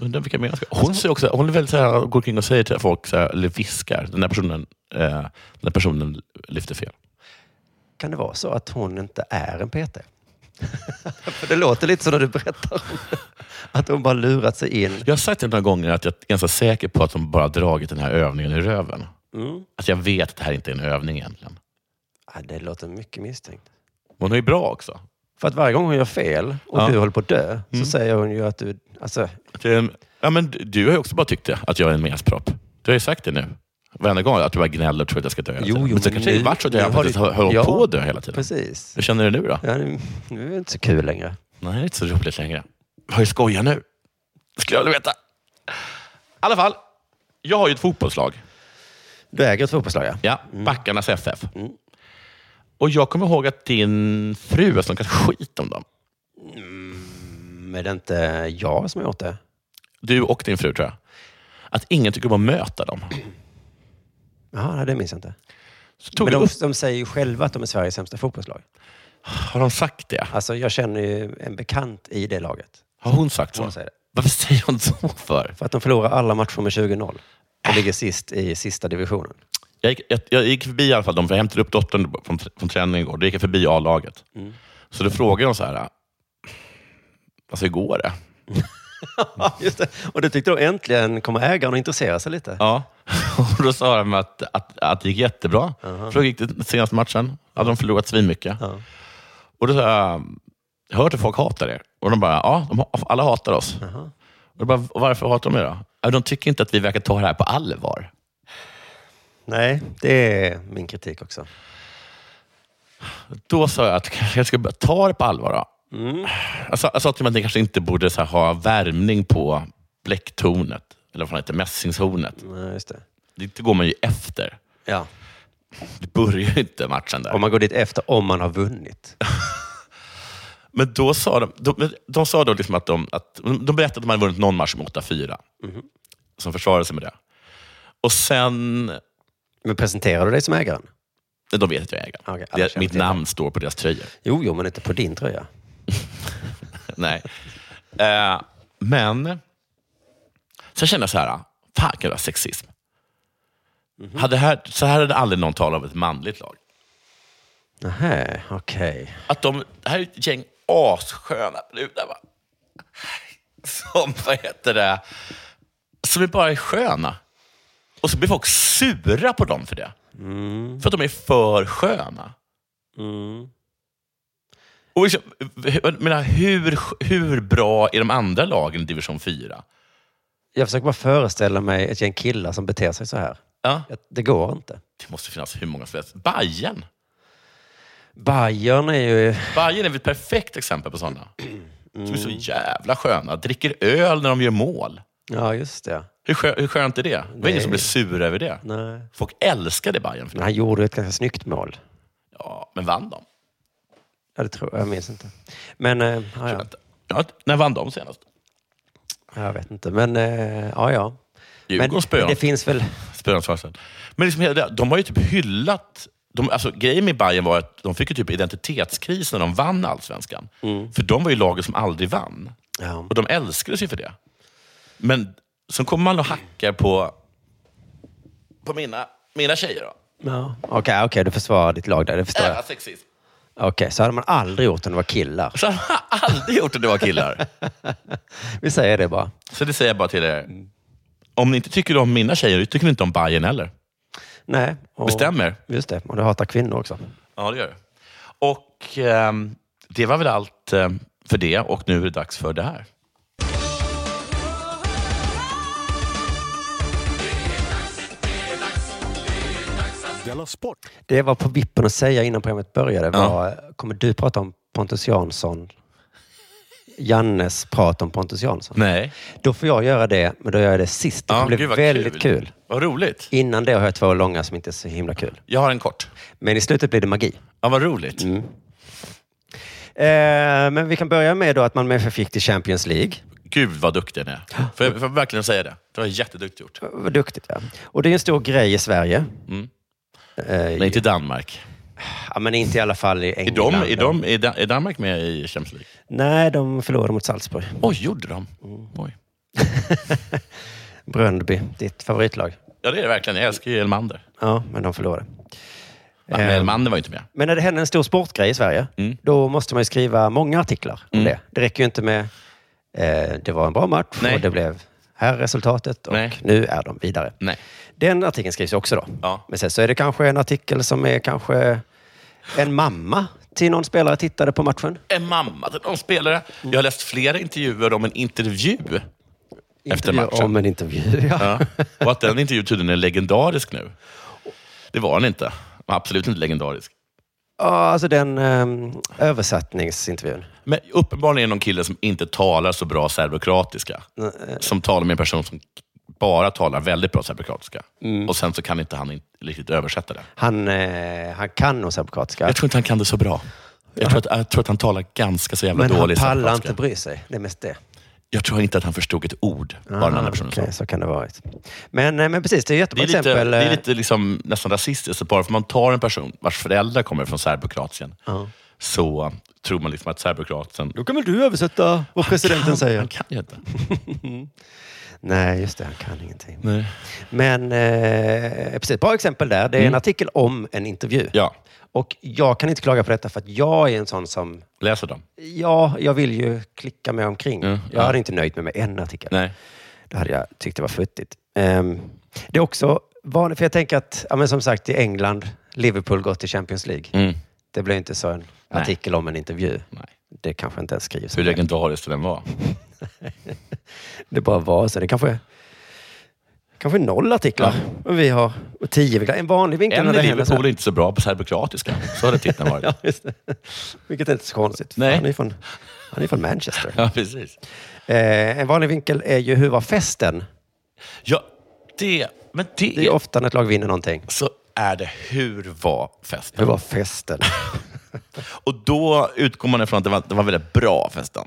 Speaker 2: Undrar vilka mer jag ska- Hon, ser också, hon är väldigt så här, går kring och säger till folk, så här, eller viskar, den här personen, eh, den här personen lyfter fel.
Speaker 1: Kan det vara så att hon inte är en PT? För det låter lite så när du berättar om det. Att hon bara lurat sig in.
Speaker 2: Jag har sagt det några gånger att jag är ganska säker på att de bara har dragit den här övningen i röven. Att jag vet att det här inte är en övning egentligen.
Speaker 1: Mm. Ja, det låter mycket misstänkt.
Speaker 2: Hon är ju bra också.
Speaker 1: För att varje gång hon gör fel och
Speaker 2: Ja. Mm.
Speaker 1: du håller på att dö så säger hon ju att du... Alltså,
Speaker 2: Det, eh, ja, men du- du har ju också bara tyckt det, att jag är en mespropp. Du har ju sagt det nu. Varenda gång att du bara gnäller och tror att jag ska dö hela tiden. men så kanske det
Speaker 1: nu-
Speaker 2: har varit så att
Speaker 1: nu
Speaker 2: jag
Speaker 1: har
Speaker 2: faktiskt
Speaker 1: du-
Speaker 2: har hållit
Speaker 1: Ja,
Speaker 2: på att dö hela tiden.
Speaker 1: Precis.
Speaker 2: Hur känner du nu då?
Speaker 1: Ja, nu nu är det inte så kul längre.
Speaker 2: Nej, det är inte så roligt längre. Har jag skojat nu? Skulle jag vilja veta. I alla fall, jag har ju ett fotbollslag.
Speaker 1: Du äger ett fotbollslag, ja.
Speaker 2: Ja, Backarnas FF. Och jag kommer ihåg att din fru har snackat skit om dem.
Speaker 1: Men Mm, är det inte jag som har gjort det?
Speaker 2: Du och din fru tror jag. Att ingen tycker om att möta dem.
Speaker 1: Jaha, nej, det minns jag inte.
Speaker 2: Så tog
Speaker 1: Men
Speaker 2: du
Speaker 1: de,
Speaker 2: upp,
Speaker 1: de säger ju själva att de är Sveriges sämsta fotbollslag.
Speaker 2: har de sagt det?
Speaker 1: Alltså, jag känner ju en bekant i det laget.
Speaker 2: Har hon sagt så?
Speaker 1: Hon säger det.
Speaker 2: Varför säger hon så för?
Speaker 1: För att de förlorar alla matcher med 20-0 och ligger sist i sista divisionen.
Speaker 2: Jag gick, jag, jag gick förbi i alla fall dem, för jag hämtade upp dottern från, från träningen igår. Då gick jag förbi A-laget. Så då frågade de så här, alltså hur går det?
Speaker 1: Just det. Och det tyckte de äntligen kommer ägaren att intressera sig lite.
Speaker 2: Ja. Och då sa de att, att, att det gick jättebra. För då gick det senaste matchen. Hade de förlorat svinmycket. Och då sa jag, jag har hört att folk hatar er. Och de bara, ja, de, ha- alla hatar oss. Och då bara, "Och varför hatar de er då? "Ja, De tycker inte att vi verkar ta det här på allvar.
Speaker 1: Nej, det är min kritik också.
Speaker 2: Då sa jag att kanske jag ska börja ta det på allvar. Då.
Speaker 1: Mm,
Speaker 2: Jag, sa, jag sa till mig Alltså, att ni kanske inte borde så här, ha värmning på bläcktornet, eller vad fan heter det, mässingshornet.
Speaker 1: Nej, just det.
Speaker 2: Det går man ju efter.
Speaker 1: Ja.
Speaker 2: Det börjar ju inte matchen där.
Speaker 1: Om man går dit efter om man har vunnit.
Speaker 2: Men då sa de, de, de sa då liksom att, de, att de berättade att de hade vunnit någon match med 8-4. Som försvarade sig med det. Och sen,
Speaker 1: Men presenterar du dig som ägaren?
Speaker 2: de vet att jag är ägare.
Speaker 1: Okej, alla
Speaker 2: det,
Speaker 1: känner
Speaker 2: mitt
Speaker 1: till
Speaker 2: namn står på deras tröjor.
Speaker 1: Jo, jo, men inte på din tröja.
Speaker 2: Nej. Eh, men sen kände jag så här, fan kan det vara sexism? Hade här, så här hade aldrig någon talat om ett manligt lag.
Speaker 1: Nähä, okej.
Speaker 2: Att de, det här är ett gäng assköna brudar va? Som, vad heter det, som är bara är sköna. Och så blir folk sura på dem för det.
Speaker 1: Mm.
Speaker 2: För att de är för sköna.
Speaker 1: Mm.
Speaker 2: Och liksom, jag menar, hur, hur bra är de andra lagen i division 4?
Speaker 1: Jag försöker bara föreställa mig ett gäng killar som beter sig så här.
Speaker 2: Ja.
Speaker 1: Jag- Det går inte.
Speaker 2: Det måste finnas hur många som helst. Bayern.
Speaker 1: Bayern är ju...
Speaker 2: Bayern är väl ett perfekt exempel på sådana. Som är så jävla sköna. Dricker öl när de gör mål.
Speaker 1: Ja, just det.
Speaker 2: Hur, skö, hur skönt är det? Det var ingen
Speaker 1: Nej.
Speaker 2: som blev sura över det.
Speaker 1: Nej.
Speaker 2: Folk älskade Bayern för
Speaker 1: Men
Speaker 2: det.
Speaker 1: han gjorde ju ett ganska snyggt mål.
Speaker 2: Ja, men vann de?
Speaker 1: Ja, det tror jag. Jag minns inte. Men, eh, ja, ja.
Speaker 2: Jag vet inte. Ja, när vann de senast?
Speaker 1: Jag vet inte. Men, eh, ja, ja. Men
Speaker 2: Djurgården spöade
Speaker 1: det
Speaker 2: dem.
Speaker 1: finns väl...
Speaker 2: Spöansvarsen. Men liksom, hela det- de har ju typ hyllat... De, alltså, grejen med Bayern var att de fick ju typ identitetskris när de vann allsvenskan.
Speaker 1: Mm.
Speaker 2: För de var ju laget som aldrig vann.
Speaker 1: Ja.
Speaker 2: Och de älskades ju för det. Men så kommer man och hackar på, på mina, mina tjejer. Då.
Speaker 1: Ja. Okej, okej, du försvarar ditt lag där. Det förstår jag.
Speaker 2: Jävla sexism.
Speaker 1: Okej, så hade man aldrig gjort när det var killar.
Speaker 2: Så har man aldrig gjort det det var killar.
Speaker 1: Vi säger det bara.
Speaker 2: Så det säger jag bara till er. Om ni inte tycker om mina tjejer, tycker ni inte om Bayern heller.
Speaker 1: Nej. Och,
Speaker 2: Bestäm er.
Speaker 1: Just det. Och du hatar kvinnor också.
Speaker 2: Ja, det gör det. Och ehm, det var väl allt ehm, för det och nu är det dags för det här.
Speaker 1: Det var på vippen att säga innan programmet började var, kommer du prata om Pontus Jansson? Jannes prat om Pontus Jansson.
Speaker 2: Nej.
Speaker 1: Då får jag göra det, men då gör jag det sist. Det
Speaker 2: Ja,
Speaker 1: kommer bli
Speaker 2: gud, vad
Speaker 1: väldigt kul.
Speaker 2: Vad roligt.
Speaker 1: Innan det har jag två långa som inte är så himla kul.
Speaker 2: Jag har en kort.
Speaker 1: Men i slutet blir det magi.
Speaker 2: Ja, vad roligt.
Speaker 1: Eh, men vi kan börja med då att man med fick till Champions League.
Speaker 2: Gud vad duktig ni är. Får jag, får jag verkligen säga det? Det var jätteduktigt gjort.
Speaker 1: Vad duktigt, ja. Och det är en stor grej i Sverige.
Speaker 2: Mm.
Speaker 1: Eh,
Speaker 2: Nej, till Danmark.
Speaker 1: Ja, men inte i alla fall i
Speaker 2: Är,
Speaker 1: England.
Speaker 2: de, är, de, är, Dan- är Danmark med i Champions League?
Speaker 1: Nej, de förlorade mot Salzburg.
Speaker 2: Oj, oh, gjorde de? Oj.
Speaker 1: Bröndby, ditt favoritlag.
Speaker 2: Ja, det är det verkligen. Jag älskar ju Elmander.
Speaker 1: Ja, men de förlorade.
Speaker 2: Nej, men
Speaker 1: Ehm.
Speaker 2: Elmander var ju inte med.
Speaker 1: Men när det händer en stor sportgrej i Sverige,
Speaker 2: Mm.
Speaker 1: då måste man ju skriva många artiklar om det. Det räcker ju inte med eh, det var en bra match
Speaker 2: Nej.
Speaker 1: och det blev här resultatet och
Speaker 2: Nej.
Speaker 1: nu är de vidare.
Speaker 2: Nej.
Speaker 1: Den artikeln skrivs ju också då.
Speaker 2: Ja.
Speaker 1: Men sen så är det kanske en artikel som är kanske en mamma till någon spelare tittade på matchen.
Speaker 2: En mamma till någon spelare. Jag har läst flera intervjuer om en Mm. intervju efter
Speaker 1: Intervju
Speaker 2: matchen.
Speaker 1: Om en intervju, ja.
Speaker 2: Ja. Och att den intervjun tydligen är legendarisk nu. Det var den inte. Den var Absolut inte legendarisk.
Speaker 1: Ja, alltså den ehm, översättningsintervjun.
Speaker 2: Men uppenbarligen är det någon kille som inte talar så bra serbokroatiska. Som talar med en person som bara talar väldigt bra serbokroatiska. Och sen så kan inte han in- riktigt översätta det.
Speaker 1: Han, eh, han kan nog serbokroatiska.
Speaker 2: Jag tror inte han kan det så bra. Jag tror att, jag tror att han talar ganska så jävla
Speaker 1: Men han
Speaker 2: dåligt
Speaker 1: pallar
Speaker 2: serbokroatiska.
Speaker 1: inte bry sig. Det är mest det.
Speaker 2: Jag tror inte att han förstod ett ord, vad den andra personen
Speaker 1: Okej,
Speaker 2: sa.
Speaker 1: så kan det vara. Men, eh, men precis, det är
Speaker 2: Det
Speaker 1: jättebra
Speaker 2: är lite,
Speaker 1: exempel.
Speaker 2: det är
Speaker 1: eh,
Speaker 2: lite liksom nästan rasistiskt, att bara för att man tar en person vars föräldrar kommer från Serbokratien, så tror man liksom att Serbokratien...
Speaker 1: Då kan väl du översätta vad presidenten
Speaker 2: Han-
Speaker 1: säger?
Speaker 2: Han kan ju inte.
Speaker 1: Nej, just det. Han kan ingenting.
Speaker 2: Nej.
Speaker 1: Men eh, precis, bra exempel där. Det är en artikel om en intervju.
Speaker 2: Mm. Ja,
Speaker 1: Och jag kan inte klaga på detta för att jag är en sån som...
Speaker 2: läser dem.
Speaker 1: Ja, jag vill ju klicka mig omkring.
Speaker 2: Ja,
Speaker 1: jag
Speaker 2: ja.
Speaker 1: hade inte nöjt mig med en artikel.
Speaker 2: Nej.
Speaker 1: Det hade jag tyckt det var futtigt. Ehm, det är också vanligt, för jag tänker att, ja, men som sagt, i England, Liverpool går till Champions League.
Speaker 2: Mm.
Speaker 1: Det blir inte så en
Speaker 2: Nej.
Speaker 1: artikel om en intervju.
Speaker 2: Nej.
Speaker 1: Det kanske inte ens skrivs.
Speaker 2: Hur legendarisk den var.
Speaker 1: Det bara var så. Det kanske kanske noll artiklar. Men vi har och tio vinklar. En vanlig vinkel.
Speaker 2: En
Speaker 1: när det
Speaker 2: i
Speaker 1: händer så här.
Speaker 2: Liverpool är inte så bra på serbokroatiska. Så hade titeln varit.
Speaker 1: Ja, just det. Vilket är inte så konstigt.
Speaker 2: Nej.
Speaker 1: Han är från, han är från Manchester.
Speaker 2: Ja, precis.
Speaker 1: Eh, en vanlig vinkel är ju hur var festen?
Speaker 2: Ja, det... Men det,
Speaker 1: Det är ju ofta när ett lag vinner någonting.
Speaker 2: Så är det. Hur var festen?
Speaker 1: Hur var festen?
Speaker 2: Och då utgår man ifrån att det var, det var väldigt bra festen.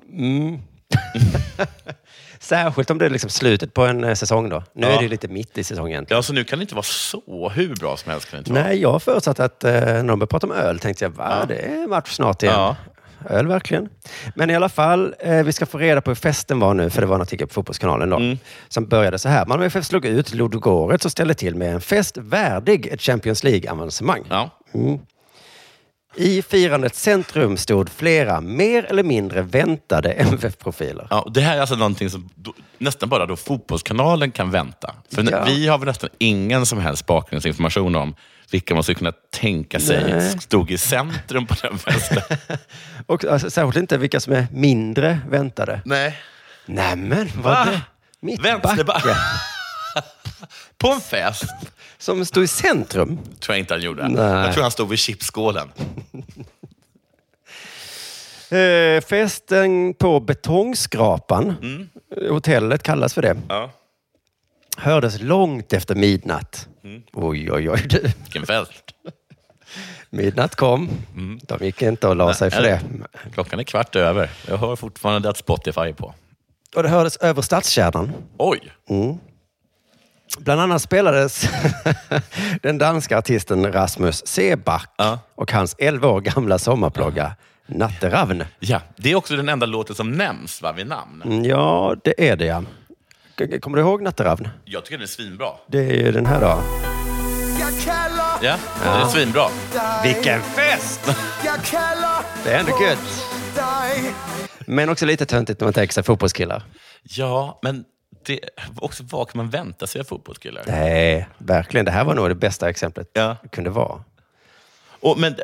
Speaker 1: Särskilt om det är liksom slutet på en eh, säsong då. Nu
Speaker 2: Ja.
Speaker 1: är det ju lite mitt i säsongen.
Speaker 2: Ja, så nu kan det inte vara så hur bra som helst. Kan det inte vara.
Speaker 1: Nej, jag förutsatte att eh, när de började prata om öl tänkte jag, va? Det är match snart igen.
Speaker 2: Ja.
Speaker 1: Öl verkligen. Men i alla fall, eh, vi ska få reda på hur festen var nu, för det var en artikel på Fotbollskanalen då, som började så här. Malmö FF slog ut Ludogorets och ställde till med en fest värdig ett Champions League-avancemang.
Speaker 2: Ja.
Speaker 1: I firandets centrum stod flera mer eller mindre väntade MFF-profiler.
Speaker 2: Ja, och det här är alltså någonting som då, nästan bara då Fotbollskanalen kan vänta. För n-
Speaker 1: Ja.
Speaker 2: Vi har väl nästan ingen som helst bakgrundsinformation om vilka man skulle kunna tänka sig stod i centrum på den festen.
Speaker 1: Och alltså, särskilt inte vilka som är mindre väntade.
Speaker 2: Nej.
Speaker 1: Nämen,
Speaker 2: Va?
Speaker 1: vad det?
Speaker 2: Vänsterback.
Speaker 1: Mittbacke.
Speaker 2: På en fest
Speaker 1: Som stod i centrum.
Speaker 2: tror jag inte han gjorde.
Speaker 1: Nej.
Speaker 2: Jag tror han stod vid chipsskålen.
Speaker 1: Eh, festen på Betongskrapan, hotellet kallas för det,
Speaker 2: Ja.
Speaker 1: hördes långt efter midnatt. Oj, oj, oj. Du.
Speaker 2: Vilken fest.
Speaker 1: Midnatt kom. De gick inte och la sig för det.
Speaker 2: Klockan är kvart över. Jag hör fortfarande att Spotify är på.
Speaker 1: Och det hördes över stadskärnan.
Speaker 2: Oj!
Speaker 1: Bland annat spelades den danska artisten Rasmus Seback
Speaker 2: Ja.
Speaker 1: och hans 11 år gamla sommarplåga Natteravn.
Speaker 2: Ja, det är också den enda låten som nämns va, vid namn.
Speaker 1: Ja, det är det ja. K- Kommer du ihåg Natteravn?
Speaker 2: Jag tycker den är svinbra.
Speaker 1: Det är ju den här då.
Speaker 2: Ja, den är svinbra.
Speaker 1: Vilken fest! Det är ändå gött. Men också lite töntigt när man tänker sig fotbollskillar.
Speaker 2: Ja, men det, också vad kan man vänta sig av fotbollskillar?
Speaker 1: Nej, verkligen. Det här var nog det bästa exemplet
Speaker 2: Ja.
Speaker 1: det kunde vara.
Speaker 2: Och, men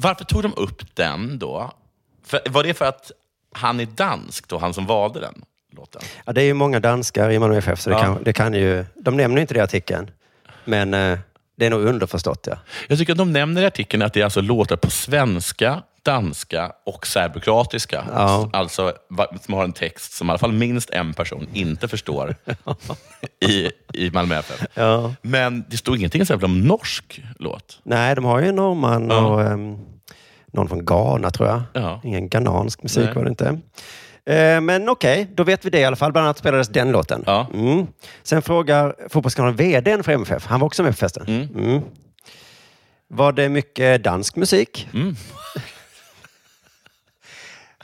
Speaker 2: varför tog de upp den då? För, var det för att han är dansk då, han som valde den låten?
Speaker 1: Ja, det är ju många danskar i Malmö FF, så det,
Speaker 2: Ja.
Speaker 1: kan, det kan ju... De nämner ju inte det i artikeln, men eh, det är nog underförstått. Ja.
Speaker 2: Jag tycker att de nämner i artikeln att det är alltså låtar på svenska, danska och serbokroatiska.
Speaker 1: Ja.
Speaker 2: Alltså va- som har en text som i alla fall minst en person inte förstår i, i Malmö FF.
Speaker 1: Ja.
Speaker 2: Men det stod ingenting exempel om norsk låt.
Speaker 1: Nej, de har ju en norrman
Speaker 2: Ja.
Speaker 1: och ehm, någon från Ghana, tror jag.
Speaker 2: Ja.
Speaker 1: Ingen ghanansk musik
Speaker 2: Nej.
Speaker 1: var det inte. Eh, men okej, då vet vi det i alla fall. Bland annat spelades den låten.
Speaker 2: Ja.
Speaker 1: Mm. Sen frågar Fotbollskanalen vdn för MFF. Han var också med på festen. Mm. Var det mycket dansk musik?
Speaker 2: Mm.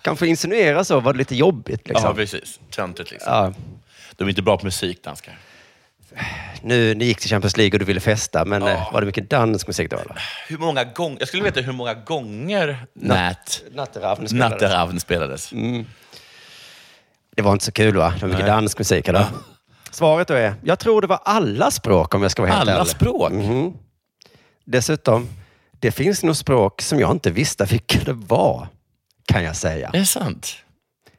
Speaker 1: Kanske insinuera så. Var det lite jobbigt?
Speaker 2: Ja,
Speaker 1: Liksom?
Speaker 2: precis. Töntigt liksom.
Speaker 1: Ja.
Speaker 2: De är inte bra på musik, danskar.
Speaker 1: Nu, ni gick till Champions League och du ville festa, men
Speaker 2: Ja.
Speaker 1: eh, var det mycket dansk musik då? Eller?
Speaker 2: Hur många gång, jag skulle vilja veta hur många gånger Nat
Speaker 1: Natteravn spelades.
Speaker 2: Natteravn spelades.
Speaker 1: Det var inte så kul va? Det var mycket dansk musik eller? Svaret då är, jag tror det var alla språk om jag ska vara helt
Speaker 2: Alla
Speaker 1: ärlig.
Speaker 2: språk.
Speaker 1: Mm. Dessutom, det finns nog språk som jag inte visste vilka det var, kan jag säga.
Speaker 2: Är det sant?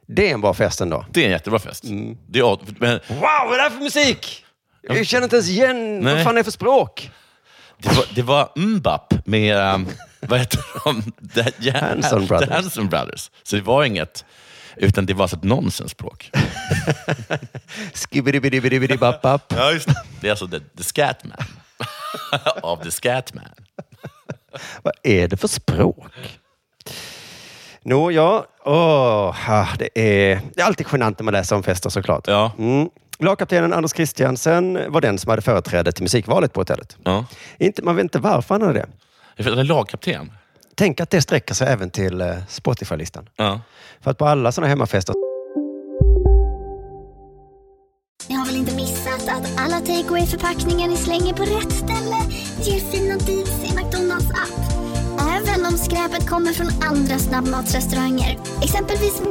Speaker 1: Det är en bra fest ändå.
Speaker 2: Det är en jättebra fest.
Speaker 1: Mm.
Speaker 2: Det är, men
Speaker 1: Wow, vad är det här för musik? Jag känner inte ens igen vad
Speaker 2: Nej.
Speaker 1: fan det är för språk.
Speaker 2: Det var, det var Mbap med, um, vad heter de? The, Ja-
Speaker 1: Hanson Brothers.
Speaker 2: The Hanson Brothers. Så det var inget, utan det var alltså ett nonsensspråk.
Speaker 1: Skibbidibidibidibidibapp.
Speaker 2: Ja, just det. det är alltså The, the Scatman. Av The Scatman.
Speaker 1: Vad är det för språk? Nå, ja. Åh, ha, det, är, det är alltid genant när man läser om fester såklart.
Speaker 2: Ja.
Speaker 1: Mm. Lagkaptenen Anders Christiansen var den som hade företräde till musikvalet på hotellet.
Speaker 2: ja.
Speaker 1: Inte, man vet inte varför han hade det.
Speaker 2: Jag vet, han är lagkapten.
Speaker 1: Tänk att det sträcker sig även till eh, Spotify-listan.
Speaker 2: Ja.
Speaker 1: För att på alla sådana hemmafester
Speaker 3: Ni har väl inte missat att alla takeaway förpackningar ni slänger på rätt ställe ger fina deals i McDonalds app. Även om skräpet kommer från andra snabbmatsrestauranger. Exempelvis...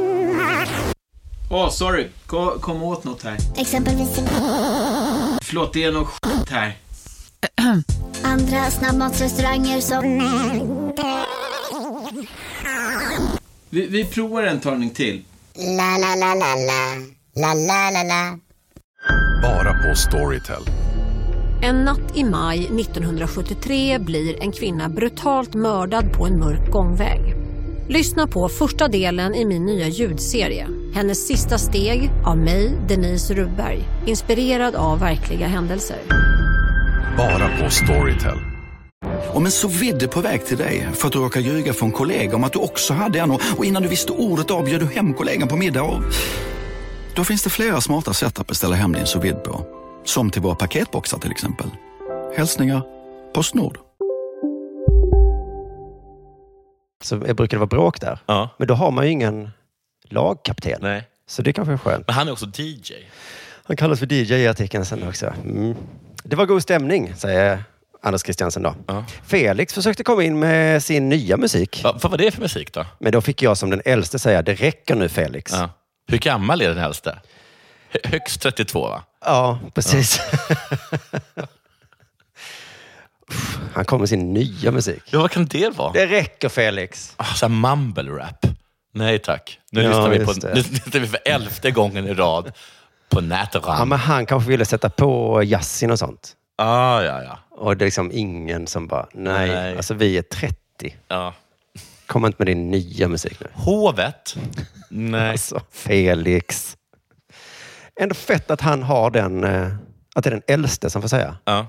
Speaker 4: Åh, sorry. Kom, kom åt något här.
Speaker 3: Exempelvis...
Speaker 4: Förlåt, det är något skit här.
Speaker 3: Andra snabbmatsrestauranger som...
Speaker 4: Vi, vi provar en talning till.
Speaker 3: La, la, la, la, la. La, la, la, la.
Speaker 5: Bara på Storytel.
Speaker 6: En natt i maj 1973 blir en kvinna brutalt mördad på en mörk gångväg. Lyssna på första delen i min nya ljudserie. Hennes sista steg av mig, Denise Rubberg. Inspirerad av verkliga händelser.
Speaker 5: Bara på Storytel.
Speaker 7: Om en så vidde på väg till dig för att du råkar ljuga från kollega om att du också hade en och och innan du visste ordet av bjöd du hem kollegan på middag och... Då finns det flera smarta sätt att beställa hem din sous vide på. Som till våra paketboxar till exempel. Hälsningar Postnord.
Speaker 1: så brukar det vara bråk där.
Speaker 2: ja.
Speaker 1: Men då har man ju ingen lagkapten.
Speaker 2: Nej.
Speaker 1: Så det kanske är skönt.
Speaker 2: Men han är också DJ.
Speaker 1: Han kallas för DJ i artikeln sen också. Mm. Det var god stämning, säger Anders Christiansen då. Felix försökte komma in med sin nya musik.
Speaker 2: vad var det för musik då?
Speaker 1: Men då fick jag som den äldste säga, det räcker nu Felix.
Speaker 2: Ja. Hur gammal är den äldste? Hö- Högst 32 va?
Speaker 1: Ja, precis. Han kom med sin nya musik.
Speaker 2: Ja, vad kan det vara?
Speaker 1: Det räcker Felix.
Speaker 2: Ah, så här mumble rap. Nej tack. Nu,
Speaker 1: Ja,
Speaker 2: lyssnar vi på,
Speaker 1: just det.
Speaker 2: nu lyssnar vi för elfte gången i rad på
Speaker 1: Ja,
Speaker 2: Nätram.
Speaker 1: men han kanske ville sätta på jazzin och sånt.
Speaker 2: Ah, ja, ja.
Speaker 1: Och det är liksom ingen som bara, nej,
Speaker 2: Nej.
Speaker 1: alltså vi är 30.
Speaker 2: Ja.
Speaker 1: Kom inte med din nya musik nu.
Speaker 2: Hovet? Nej.
Speaker 1: Alltså, Felix. Ändå fett att han har den, eh, att det är den äldste som får säga.
Speaker 2: Ja.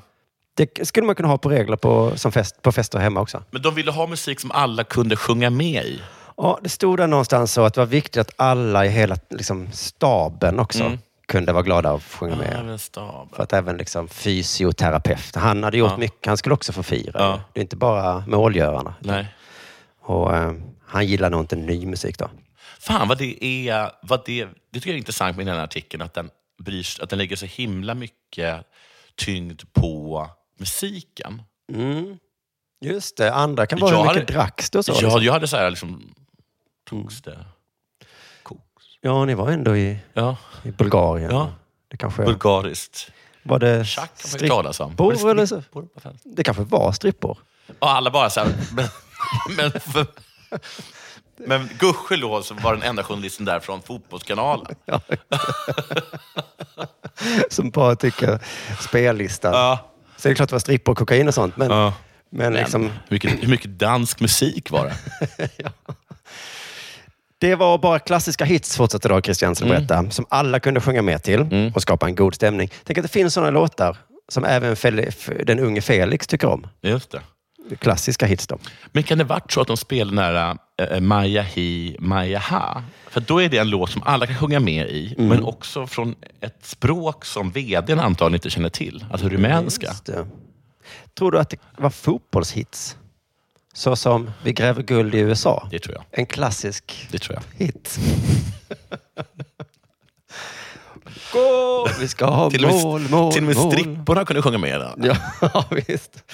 Speaker 1: Det skulle man kunna ha på regler på, som fest, på fester hemma också.
Speaker 2: Men de ville ha musik som alla kunde sjunga med i.
Speaker 1: Ja, det stod där någonstans så att det var viktigt att alla i hela liksom, staben också
Speaker 2: Mm.
Speaker 1: kunde vara glada att sjunga med.
Speaker 2: Även stab.
Speaker 1: För att även liksom, fysioterapeut, han hade gjort
Speaker 2: Ja.
Speaker 1: mycket. Han skulle också få fira.
Speaker 2: Ja.
Speaker 1: Det är inte bara målgörarna.
Speaker 2: Nej.
Speaker 1: Och, eh, han gillar nog inte ny musik då.
Speaker 2: Fan vad det är, vad det, det tycker jag är intressant med den här artikeln, att den, bryr, sig- att den lägger så himla mycket tyngd på musiken.
Speaker 1: Mm. Just det, andra kan vara hur mycket dracks det och så.
Speaker 2: Ja,
Speaker 1: liksom.
Speaker 2: jag hade så här liksom... Togs det.
Speaker 1: ja, ni var ändå i,
Speaker 2: Ja.
Speaker 1: i Bulgarien.
Speaker 2: Ja.
Speaker 1: Det kanske
Speaker 2: Bulgariskt.
Speaker 1: var det
Speaker 2: Tjack kan man ju talas om. Var det
Speaker 1: strippor eller så.
Speaker 2: strippor? Vad fan?
Speaker 1: Det kanske var strippor.
Speaker 2: Och alla bara så här... Men, men, för, men gudskelov så var den enda journalisten där från Fotbollskanalen.
Speaker 1: Ja. Som bara tycker spellistan.
Speaker 2: Ja.
Speaker 1: Så det är klart det var strippor och kokain och sånt. Men,
Speaker 2: Ja.
Speaker 1: men
Speaker 2: Men
Speaker 1: liksom,
Speaker 2: hur, mycket, hur mycket dansk musik var det?
Speaker 1: det var bara klassiska hits, fortsatte då Christiansen att berätta, som alla kunde sjunga med till och skapa en god stämning. Tänk att det finns sådana låtar som även Fel- F- den unge Felix tycker om.
Speaker 2: Just det.
Speaker 1: Klassiska hits då.
Speaker 2: Men kan det varit så att de spelade nära eh, Maja Hi, Maja Ha? För då är det en låt som alla kan sjunga med i, men också från ett språk som vdn antagligen inte känner till. Alltså rumänska.
Speaker 1: Just det. Tror du att det var fotbollshits? Så som Vi gräver guld i USA.
Speaker 2: Det tror jag.
Speaker 1: En klassisk
Speaker 2: Det tror jag.
Speaker 1: hit. Gå! Vi ska ha
Speaker 2: Till och med-
Speaker 1: mål, mål,
Speaker 2: Till och med
Speaker 1: mål.
Speaker 2: stripporna kunde sjunga med i den.
Speaker 1: Ja, visst.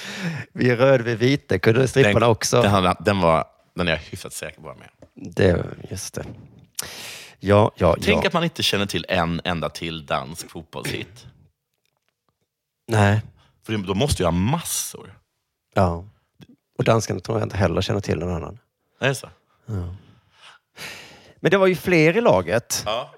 Speaker 1: Vi är röd, vi är vita. Kunde stripporna också.
Speaker 2: Den, hade- den, var, den är jag hyfsat säker på var med.
Speaker 1: Det, just det. Ja, ja,
Speaker 2: Tänk
Speaker 1: ja.
Speaker 2: att man inte känner till en enda till dansk fotbollshit.
Speaker 1: Nej.
Speaker 2: För då måste jag ha massor.
Speaker 1: Ja. Och danskarna tror jag inte heller känner till någon annan.
Speaker 2: Är det så?
Speaker 1: Men det var ju fler i laget.
Speaker 2: Ja.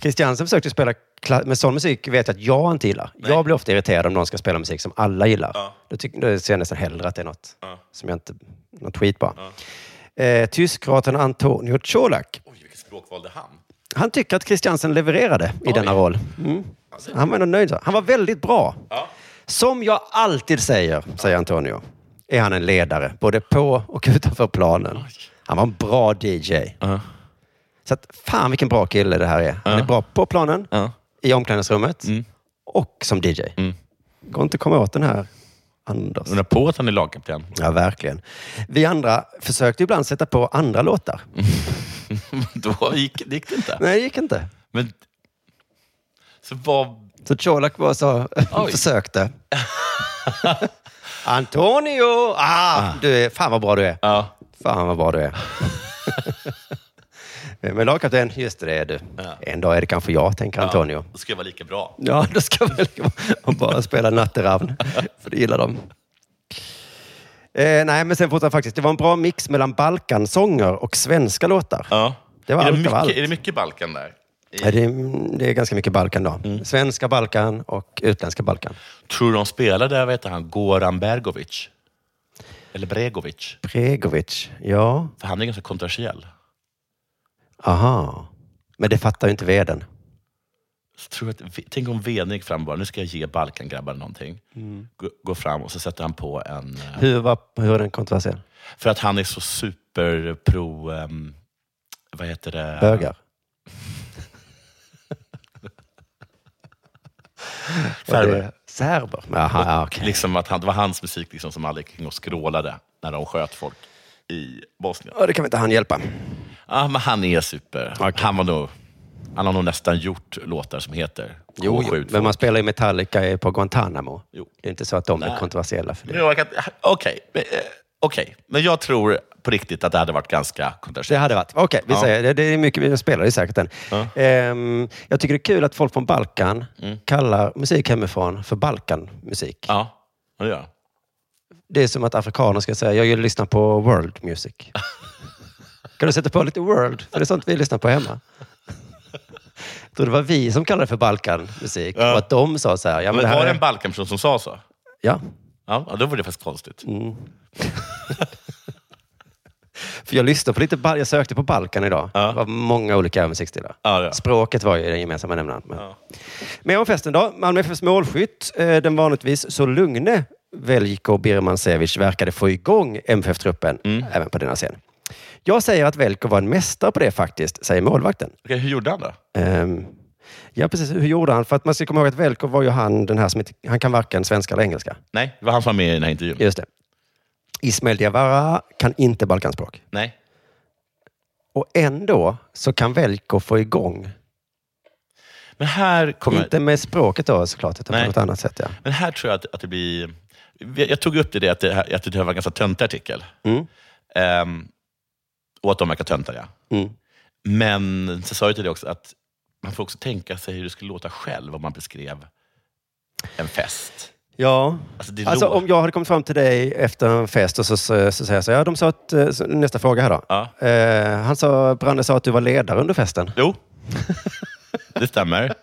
Speaker 1: Christiansen försökte spela kla- med sån musik vet jag att jag inte gillar. Jag blir ofta irriterad om någon ska spela musik som alla gillar.
Speaker 2: Ja.
Speaker 1: Då, tycker, då ser jag nästan hellre att det är något
Speaker 2: Ja.
Speaker 1: som jag inte... Något skit bara. Eh, Tyskroaten Antonio Colak.
Speaker 2: Oj, vilket språk valde han?
Speaker 1: Han tycker att Christiansen levererade i denna roll. Mm. Han var ändå nöjd. så. Han var väldigt bra.
Speaker 2: Ja.
Speaker 1: Som jag alltid säger, säger Antonio, är han en ledare. Både på och utanför planen. Han var en bra DJ.
Speaker 2: Ja.
Speaker 1: Så att, fan vilken bra kille det här är. Han är bra på planen,
Speaker 2: Ja.
Speaker 1: i omklädningsrummet
Speaker 2: Mm.
Speaker 1: och som DJ.
Speaker 2: Mm.
Speaker 1: Går inte att komma åt den här Anders.
Speaker 2: Undrar på att han är lagkapten.
Speaker 1: Ja, verkligen. Vi andra försökte ibland sätta på andra låtar.
Speaker 2: Då gick, det gick det inte.
Speaker 1: Nej, det gick inte.
Speaker 2: Men, så vad...
Speaker 1: Så Colak var så
Speaker 2: Oj.
Speaker 1: försökte. Antonio! Ah, du är, fan vad bra du är.
Speaker 2: Ja.
Speaker 1: Fan vad bra du är. Men lagkapten, just det, det är du.
Speaker 2: Ja.
Speaker 1: En dag är det kanske jag, tänker Antonio.
Speaker 2: Då ska jag vara lika bra.
Speaker 1: Ja, då ska väl och bara spela natteravn. För det gillar de. Eh, nej, men sen fortsatte faktiskt. Det var en bra mix mellan Balkansånger och svenska låtar.
Speaker 2: Ja.
Speaker 1: Det var
Speaker 2: är, det
Speaker 1: allt, det
Speaker 2: mycket,
Speaker 1: var allt.
Speaker 2: är det mycket Balkan där?
Speaker 1: Eh, Det, är, det är ganska mycket Balkan då. Svenska Balkan och utländska Balkan.
Speaker 2: Tror du de spelar där, vad heter han, Goran Bergovic? Eller Bregovic?
Speaker 1: Bregovic, ja.
Speaker 2: För han är ganska kontroversiell.
Speaker 1: Aha. Men det fattar ju inte veden.
Speaker 2: Så tror jag att, tänk om Vene gick fram och bara, nu ska jag ge Balkangrabbarna någonting. Mm. Gå, gå fram och så sätter han på en... eh,
Speaker 1: Hur, var, hur är den kontroversiell?
Speaker 2: För att han är så superpro... ehm, vad heter det?
Speaker 1: Bögar? Var
Speaker 2: Färber.
Speaker 1: det Serber? Aha, ja, okej.
Speaker 2: Liksom att han, det var hans musik liksom som alla gick kring och skrålade när de sköt folk i Bosnien.
Speaker 1: Ja, det kan väl inte han hjälpa.
Speaker 2: Ja, men han är super. Han var nog... Han har nog nästan gjort låtar som heter
Speaker 1: Jo,
Speaker 2: K7
Speaker 1: jo, men man spelar ju Metallica på Guantanamo. Det är inte så att de
Speaker 2: Nej.
Speaker 1: är kontroversiella för det.
Speaker 2: Nu har jag kan- Okej, men, eh, okej. men jag tror på riktigt att det hade varit ganska kontroversiellt.
Speaker 1: Det hade varit. Okej, vi
Speaker 2: Ja.
Speaker 1: säger det. Det är mycket vi spelar, det är säkert den. Ehm, jag tycker det är kul att folk från Balkan kallar musik hemifrån för Balkanmusik.
Speaker 2: Mm. Ja, det gör jag.
Speaker 1: Det är som att afrikaner ska säga, jag lyssnar på world music. kan du sätta på lite world? För det är sånt vi lyssnar på hemma. Jag tror det var vi som kallade det för Balkanmusik. Och att de sa så här, ja men,
Speaker 2: men
Speaker 1: det
Speaker 2: var
Speaker 1: här
Speaker 2: det
Speaker 1: är...
Speaker 2: en Balkanperson som sa så?
Speaker 1: Ja.
Speaker 2: Ja, ja, då var det faktiskt konstigt.
Speaker 1: Mm. För jag lyssnade på lite, Bal- jag sökte på Balkan idag. Det var många olika musikstilar. Språket var ju den gemensamma nämnaren. Men... Mer om festen då. Malmö FFs målskytt, eh, den vanligtvis så lugne Veljko Birmancevic verkade få igång MFF-truppen även på denna scen. Jag säger att Veljko var en mästare på det faktiskt, säger målvakten.
Speaker 2: Okej, hur gjorde han då?
Speaker 1: Ehm, ja, precis. Hur gjorde han? För att man ska komma ihåg att Velko var ju han, den här som inte, han kan varken svenska eller engelska.
Speaker 2: Nej, det var han som var med i den här intervjun.
Speaker 1: Just det. Ismail Diawara kan inte balkanspråk.
Speaker 2: Nej.
Speaker 1: Och ändå så kan Velko få igång.
Speaker 2: Men här kommer...
Speaker 1: Inte med språket då såklart, utan
Speaker 2: Nej.
Speaker 1: på något annat sätt. Ja.
Speaker 2: Men här tror jag att, att det blir... Jag tog upp det, det att det, här- att det här var en ganska töntig artikel.
Speaker 1: Mm.
Speaker 2: Ehm, och att de verkar töntiga.
Speaker 1: Mm.
Speaker 2: Men så sa jag till dig också att man får också tänka sig hur det skulle låta själv om man beskrev en fest.
Speaker 1: Ja.
Speaker 2: Alltså, det
Speaker 1: Alltså
Speaker 2: låter-
Speaker 1: om jag hade kommit fram till dig efter en fest och så, så, så säger jag så här, ja, de sa att, eh, så, nästa fråga här då. Eh, han sa, Branne sa att du var ledare under festen.
Speaker 2: Jo. Det stämmer.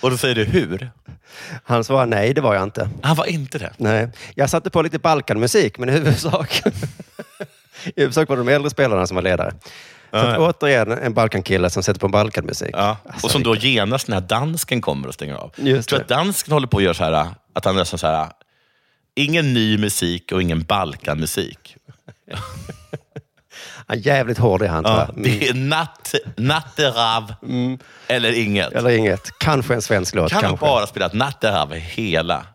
Speaker 2: och då säger du hur?
Speaker 1: Han svarade nej, det var jag inte.
Speaker 2: Han var inte det.
Speaker 1: Nej, jag satte på lite Balkanmusik, men i huvudsak, i huvudsak var det de äldre spelarna som var ledare. Så att,
Speaker 2: Ja.
Speaker 1: återigen en Balkankille som sätter på Balkanmusik.
Speaker 2: Ja. och som då genast när dansken kommer och stänger av.
Speaker 1: Alltså, Just
Speaker 2: tror att dansken håller på att göra så här, att han nästan så här, ingen ny musik och ingen Balkanmusik.
Speaker 1: Han är jävligt hård i han.
Speaker 2: Ja,
Speaker 1: tror jag. Mm.
Speaker 2: det är natt, natterav eller inget.
Speaker 1: Eller inget. Kanske en svensk låt.
Speaker 2: Kan han
Speaker 1: kanske.
Speaker 2: bara spela natterav hela?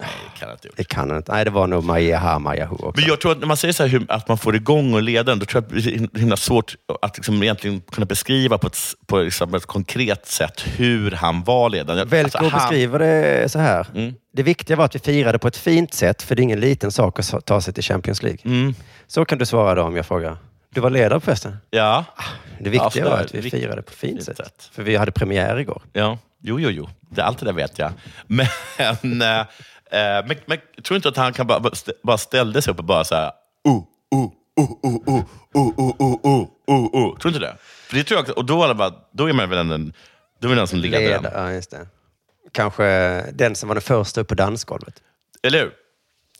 Speaker 2: Nej, det kan han inte.
Speaker 1: Det kan han inte. Nej, det var nog Maja Ha, Maja Hu också.
Speaker 2: Men jag tror att när man säger så här, hur, att man får igång och leder den, då tror jag att det är så himla svårt att liksom egentligen kunna beskriva på ett, s- på liksom ett konkret sätt hur han var ledaren.
Speaker 1: Velko
Speaker 2: Alltså, Mm. han-
Speaker 1: beskriver det så här. Det viktiga var att vi firade på ett fint sätt, för det är ingen liten sak att ta sig till Champions League.
Speaker 2: Mm.
Speaker 1: Så kan du svara då om jag frågar. Du var ledare på festen?
Speaker 2: Ja.
Speaker 1: Ah, Det viktiga
Speaker 2: Ja, sådär.
Speaker 1: var att vi
Speaker 2: Vikt-
Speaker 1: firade på fint sätt. För vi hade premiär igår.
Speaker 2: Ja, jo, jo, jo. Det, allt det där vet jag. Men, eh, eh, men, men tror inte att han kan bara, bara ställde sig upp och bara så här, oh, oh, oh, oh, oh, oh, oh, oh, oh, oh, oh. Tror inte det? För det tror jag, också- och då, är det bara, då är man väl ändå en, då är man den som leder den.
Speaker 1: Ledare, ja, just det. Kanske den som var den första upp på dansgolvet.
Speaker 2: Eller hur?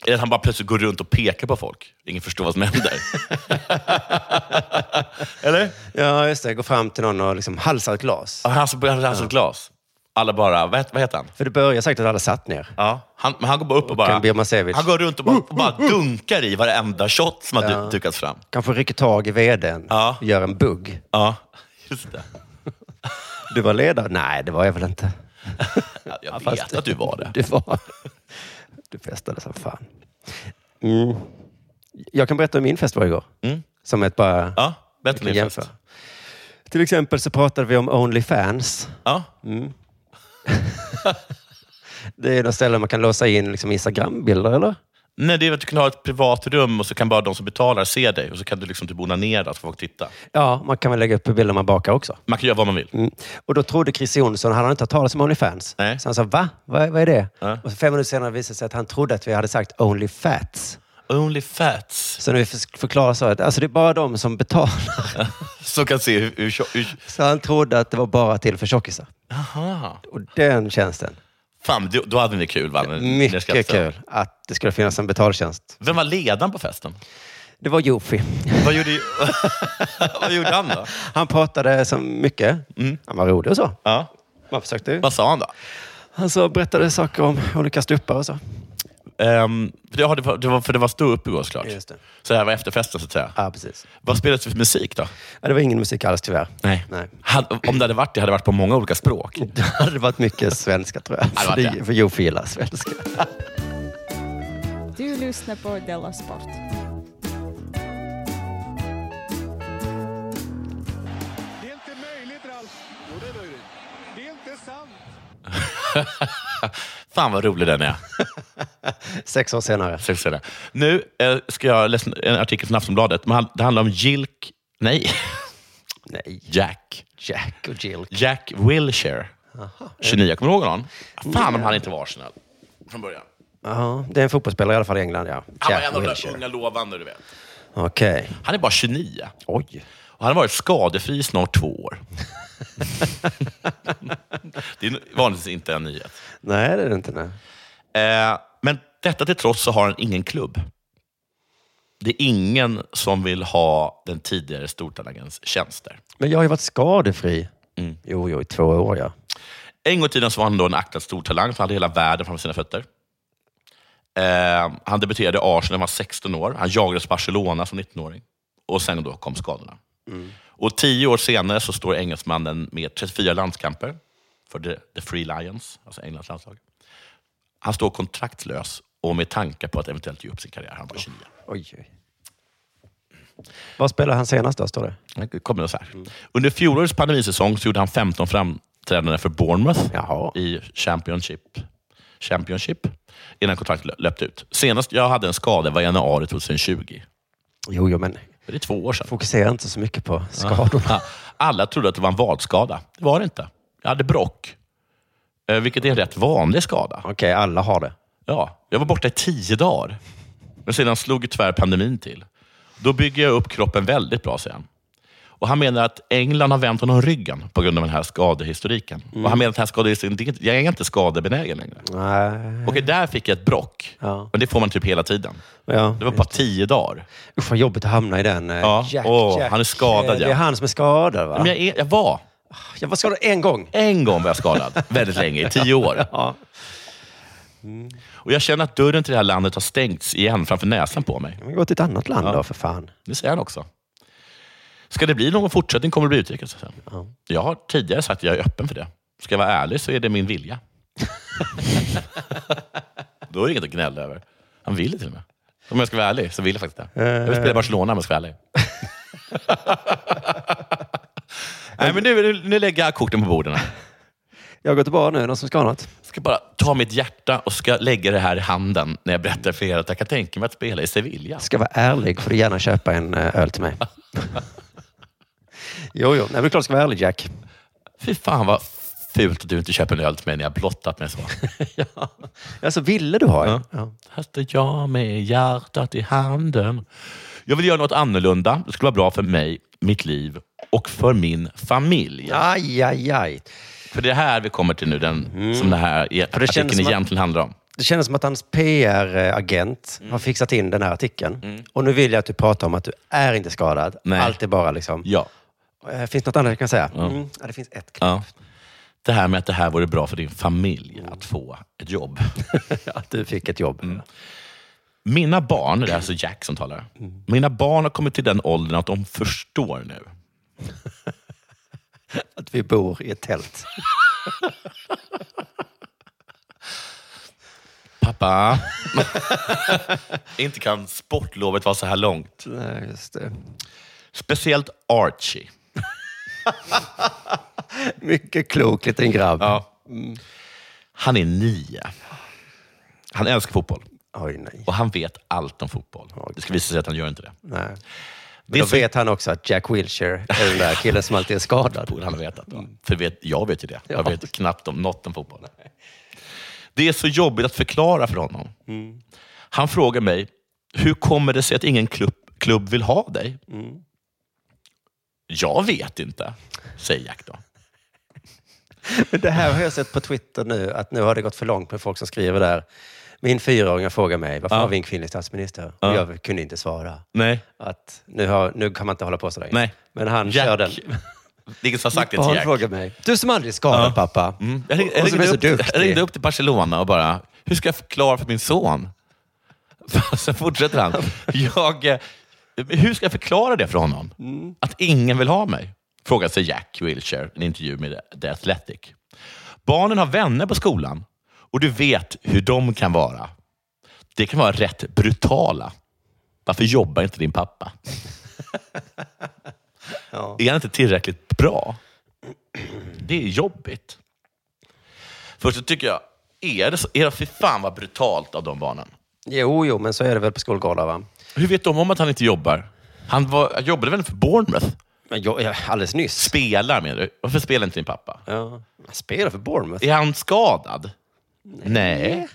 Speaker 2: Eller att han bara plötsligt går runt och pekar på folk. Ingen förstår vad som händer. Eller?
Speaker 1: Ja, just det. Gå fram till någon och liksom halsar ett glas.
Speaker 2: Och Han så börjar han så ett glas. Alla bara, vad heter, vad heter han?
Speaker 1: För det börjar säkert att alla satt ner.
Speaker 2: Ja, han, men han går bara upp och bara...
Speaker 1: Kan Birmancevic.
Speaker 2: Han går runt och bara, och bara dunkar i varenda shot som har
Speaker 1: Uh, Ja.
Speaker 2: du, dukats fram.
Speaker 1: Kanske rycker tag i vdn. Gör en bugg.
Speaker 2: Ja, just det.
Speaker 1: Du var ledare? Nej, det var jag väl inte.
Speaker 2: Ja, Jag vet
Speaker 1: fast-
Speaker 2: att du var det.
Speaker 1: Du var... Du festade som fan. Mm. Jag kan berätta hur min fest var igår. Som ett bara...
Speaker 2: Mm. Ja,
Speaker 1: vi
Speaker 2: bättre
Speaker 1: kan
Speaker 2: än
Speaker 1: jämföra. Till exempel så pratade vi om Onlyfans.
Speaker 2: Ja.
Speaker 1: Mm. det är något ställe man kan låsa in liksom Instagram-bilder, eller?
Speaker 2: Nej, det är att du kan ha ett privat rum och så kan bara de som betalar se dig och så kan du liksom typ onanera så får folk titta.
Speaker 1: Ja, man kan väl lägga upp bilder man bakar också.
Speaker 2: Man kan göra vad man vill.
Speaker 1: Mm. Och då trodde Chris Jonsson, han hade inte hört talas om Onlyfans.
Speaker 2: Nej.
Speaker 1: Så han sa, va? Vad, vad är det?
Speaker 2: Ja.
Speaker 1: Och så fem minuter senare visade det sig att han trodde att vi hade sagt Only Fats.
Speaker 2: Only fats.
Speaker 1: Så när vi förklarade så att alltså, det är bara de som betalar.
Speaker 2: Som kan se hur... hur, hur
Speaker 1: Så han trodde att det var bara till för tjockisar.
Speaker 2: aha.
Speaker 1: Och den tjänsten.
Speaker 2: Fan, då, då hade ni kul va? När- när Mm, jag
Speaker 1: Mycket
Speaker 2: skrattade.
Speaker 1: kul att det skulle finnas en betaltjänst.
Speaker 2: Vem var ledaren på festen?
Speaker 1: Det var Jofi.
Speaker 2: Vad gjorde, vad gjorde han då?
Speaker 1: Han pratade så mycket.
Speaker 2: Mm.
Speaker 1: Han var rolig och så.
Speaker 2: Ja.
Speaker 1: Man försökte ju.
Speaker 2: Vad sa han då?
Speaker 1: Han så berättade saker om olika stuppar och så.
Speaker 2: Ehm, för, det, ja, det var, det var, för det var stå upp igår såklart.
Speaker 1: Just det.
Speaker 2: Så det här var efterfesten så att säga.
Speaker 1: Ja, precis.
Speaker 2: Vad spelades det för musik då?
Speaker 1: Ja, det var ingen musik alls tyvärr.
Speaker 2: Nej.
Speaker 1: Nej. Mm.
Speaker 2: Hade- om det hade varit det hade det varit på många olika språk.
Speaker 1: Det hade varit mycket svenska tror jag.
Speaker 2: hade varit det.
Speaker 1: För Jofi gillar svenska.
Speaker 8: Du lyssnar på Della Sport.
Speaker 9: Det är inte möjligt.
Speaker 2: Fan vad rolig den är.
Speaker 1: Sex år senare.
Speaker 2: Sex år senare. Nu eh, ska jag läsa en artikel från Aftonbladet. Men han- Det handlar om Jilk... Nej.
Speaker 1: Nej.
Speaker 2: Jack.
Speaker 1: Jack och Jilk.
Speaker 2: Jack Wilshire. 29. Kommer du ihåg honom?
Speaker 1: Mm.
Speaker 2: Fan om han inte var Arsenal från början.
Speaker 1: Ja, det är en fotbossspelare i alla fall i England, ja.
Speaker 2: Han var
Speaker 1: Jack
Speaker 2: en av de där
Speaker 1: Wilshere.
Speaker 2: unga lovande, du vet.
Speaker 1: Okej.
Speaker 2: Han är bara 29. Oj. Och han har varit skadefri i snart två år. det är vanligtvis inte en nyhet.
Speaker 1: Nej, det är det inte. Nej.
Speaker 2: Eh, men detta till trots så har han ingen klubb. Det är ingen som vill ha den tidigare stortalangens tjänster.
Speaker 1: Men jag har ju varit skadefri.
Speaker 2: Mm.
Speaker 1: Jo, jo, i två år, ja.
Speaker 2: En gång i tiden så var han då en aktad stortalang, så han hade hela världen framför sina fötter. Eh, han debuterade i Arsenal när han var 16 år. Han jagades Barcelona som 19-åring. Och sen då kom skadorna. Och tio år senare så står engelsmannen med 34 landskamper för the, the Free Lions, alltså Englands landslag. Han står kontraktslös och med tankar på att eventuellt ge upp sin karriär. Han var 29.
Speaker 1: Oj, oj. Vad spelade han senast då, står det?
Speaker 2: Det kommer så här. Under fjolårets pandemisäsong så gjorde han 15 framträdanden för Bournemouth i Championship. Championship innan kontraktet lö- löpte ut. Senast jag hade en skada var i januari 2020.
Speaker 1: Jo, jo, men
Speaker 2: Det är två år sedan.
Speaker 1: fokusera inte så mycket
Speaker 2: Ah.
Speaker 1: på skador.
Speaker 2: Alla trodde att det var en vadskada. Det var det inte. Jag hade brock, eh, vilket är en rätt vanlig skada. Okej,
Speaker 1: alla har det.
Speaker 2: Ja, jag var borta i tio dagar. Men sedan slog tyvärr pandemin till. Då bygger jag upp kroppen väldigt bra, säger han. Och han menar att England har vänt honom ryggen på grund av den här skadehistoriken.
Speaker 1: Mm.
Speaker 2: Och han menar att den här skadehistoriken, det är inte- jag är inte skadebenägen längre.
Speaker 1: Nej.
Speaker 2: Okej, där fick jag ett brock. Men det får man typ hela tiden.
Speaker 1: Ja,
Speaker 2: det var bara tio dagar.
Speaker 1: Usch, vad jobbigt att hamna i den. eh,
Speaker 2: Ja.
Speaker 1: Jack,
Speaker 2: Åh,
Speaker 1: Jack.
Speaker 2: han är skadad,
Speaker 1: Eh, Det är
Speaker 2: ja.
Speaker 1: han som är skadad, va?
Speaker 2: Men jag, är, jag var.
Speaker 1: Jag var skadad en gång.
Speaker 2: En gång var jag skadad. Väldigt länge, i tio år. Och jag känner att dörren till det här landet har stängts igen framför näsan på mig.
Speaker 1: Men gå till ett annat land då, för fan.
Speaker 2: Det säger han också. Ska det bli någon fortsättning kommer det bli utrikes. säger han. Jag har tidigare sagt att jag är öppen för det. Ska jag vara ärlig så är det min vilja. Då är det inget att gnälla över. Han vill det till och med. Om jag ska vara ärlig så vill jag faktiskt det. Jag vill spela i Barcelona om jag ska vara ärlig. Nej, men nu, nu- nu lägger jag korten på borden. här.
Speaker 1: Jag går till bar nu, någon som ska ha något?
Speaker 2: ska bara ta mitt hjärta och ska lägga det här i handen när jag berättar för er att jag kan tänka mig att spela i Sevilla.
Speaker 1: Ska vara ärlig får du gärna köpa en eh, öl till mig. jo, jo. Nej, men det är klart du ska vara ärlig, Jack.
Speaker 2: Fy fan vad fult att du inte köper en öl till mig när jag blottat mig så.
Speaker 1: Alltså, ville du ha en?
Speaker 2: Här står jag med hjärtat i handen. Jag vill göra något annorlunda. Det skulle vara bra för mig, mitt liv och för min familj.
Speaker 1: Aj, aj, aj.
Speaker 2: För det är här vi kommer till nu, den, som den här e-
Speaker 1: Mm. För det känns
Speaker 2: artikeln
Speaker 1: som att-
Speaker 2: egentligen handlar om.
Speaker 1: Det känns som att hans PR-agent har fixat in den här artikeln. Och nu vill jag att du pratar om att du är inte skadad.
Speaker 2: Nej.
Speaker 1: Allt är bara liksom...
Speaker 2: Ja.
Speaker 1: Eh, Finns det något annat jag kan säga?
Speaker 2: Ja.
Speaker 1: Mm. Ja, det finns ett.
Speaker 2: Ja. Det här med att det här vore bra för din familj
Speaker 1: Mm.
Speaker 2: att få ett jobb.
Speaker 1: att du fick ett jobb.
Speaker 2: Mina barn, det är alltså Jack som talar.
Speaker 1: Mm.
Speaker 2: Mina barn har kommit till den åldern att de förstår nu.
Speaker 1: Att vi bor i ett tält.
Speaker 2: Pappa. inte kan sportlovet vara så här långt.
Speaker 1: Nej, just det.
Speaker 2: Speciellt Archie.
Speaker 1: Mycket klok liten grabb.
Speaker 2: Ja. Han är nio. Han älskar fotboll.
Speaker 1: Oj, nej.
Speaker 2: Och han vet allt om fotboll. Det ska visa sig att han gör inte det.
Speaker 1: nej. Men
Speaker 2: Det
Speaker 1: då
Speaker 2: är så-
Speaker 1: vet han också att Jack Wilshere är den där killen som alltid är skadad.
Speaker 2: borde han ha vetat. va? För vet, jag vet ju det. Jag vet knappt om något om fotboll. Det är så jobbigt att förklara för honom. Han frågar mig, hur kommer det sig att ingen klubb, klubb vill ha dig? Jag vet inte, säger Jack då.
Speaker 1: Men Det här har jag sett på Twitter nu, att nu har det gått för långt med folk som skriver där. Min fyraåring har frågat mig, varför
Speaker 2: Ja.
Speaker 1: har vi en kvinnlig statsminister?
Speaker 2: Ja.
Speaker 1: Och jag kunde inte svara.
Speaker 2: Nej.
Speaker 1: Att nu, har, nu kan man inte hålla på så länge.
Speaker 2: Nej.
Speaker 1: Men han
Speaker 2: Jack.
Speaker 1: kör den.
Speaker 2: Ingen som har sagt det till
Speaker 1: Barn
Speaker 2: Jack.
Speaker 1: frågar mig, du som aldrig är skadad
Speaker 2: Ja.
Speaker 1: pappa.
Speaker 2: Mm. Jag, ringde,
Speaker 1: Och
Speaker 2: jag,
Speaker 1: som är
Speaker 2: ringde
Speaker 1: så
Speaker 2: upp, till-
Speaker 1: duktig.
Speaker 2: jag ringde upp till Barcelona och bara, hur ska jag förklara för min son? Sen fortsätter han. Jag, eh, hur ska jag förklara det för honom?
Speaker 1: Mm.
Speaker 2: Att ingen vill ha mig? Frågar sig Jack Wilshere i en intervju med The Athletic. Barnen har vänner på skolan och du vet hur de kan vara. Det kan vara rätt brutala. Varför jobbar inte din pappa? Är han inte tillräckligt bra? Det är jobbigt. Först så tycker jag, är det så? Är det för fan vad brutalt av de barnen?
Speaker 1: Jo, jo, men så är det väl på skolgårdar va?
Speaker 2: Hur vet de om att han inte jobbar? Han var, han jobbade väl för Bournemouth?
Speaker 1: Men jag, jag, alldeles nyss.
Speaker 2: Spelar med du? Varför spelar inte din pappa?
Speaker 1: Ja. Han spelar för Bournemouth.
Speaker 2: Är han skadad? Nej.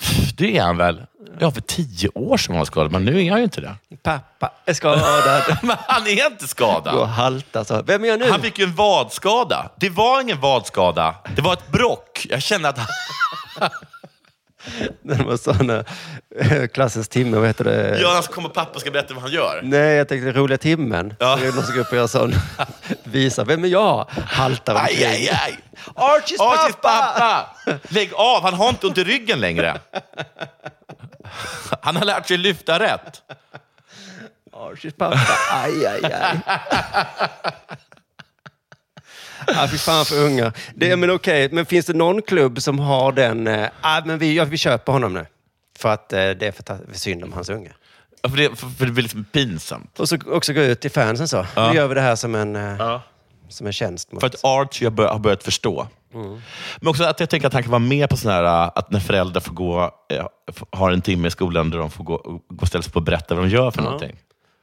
Speaker 2: Pff, Det är han väl? Ja, för tio år sedan var han skadad, men nu är han ju inte det.
Speaker 1: Pappa är skadad.
Speaker 2: Men han är inte
Speaker 1: Gå och
Speaker 2: skadad.
Speaker 1: halta så. Vem är jag nu?
Speaker 2: Han fick ju en vadskada. Det var ingen vadskada. Det var ett brock. Jag kände att han...
Speaker 1: Det var såna eh, klassens timme, vad heter det?
Speaker 2: Ja, annars kommer pappa och ska berätta vad han gör.
Speaker 1: Nej, jag tänkte roliga timmen.
Speaker 2: Ja.
Speaker 1: Så är det någon som går upp och gör sån. Visa, vem är jag? Haltar
Speaker 2: Aj,
Speaker 1: omkring.
Speaker 2: aj, aj!
Speaker 1: Archies,
Speaker 2: Archies
Speaker 1: pappa!
Speaker 2: pappa! Lägg av, han har inte ont i ryggen längre. Han har lärt sig lyfta rätt.
Speaker 1: Archies pappa. Aj, aj, aj. Ja, fy fan för unga. Det, men okej, men finns det någon klubb som har den... eh, Ah, men vi, ja, vi köper honom nu. För att eh, det är för, ta- för synd om hans unge.
Speaker 2: Ja, För det, för, för det blir liksom pinsamt.
Speaker 1: Och så också gå ut till fansen så.
Speaker 2: Ja.
Speaker 1: Nu gör vi det här som en, eh, som en tjänst. Mot.
Speaker 2: För att Archie har, bör, har börjat förstå. Men också att jag tänker att han kan vara med på sådana här, äh, att när föräldrar får gå, äh, f- har en timme i skolan där de får gå, och gå och ställa sig på och berätta vad de gör för någonting.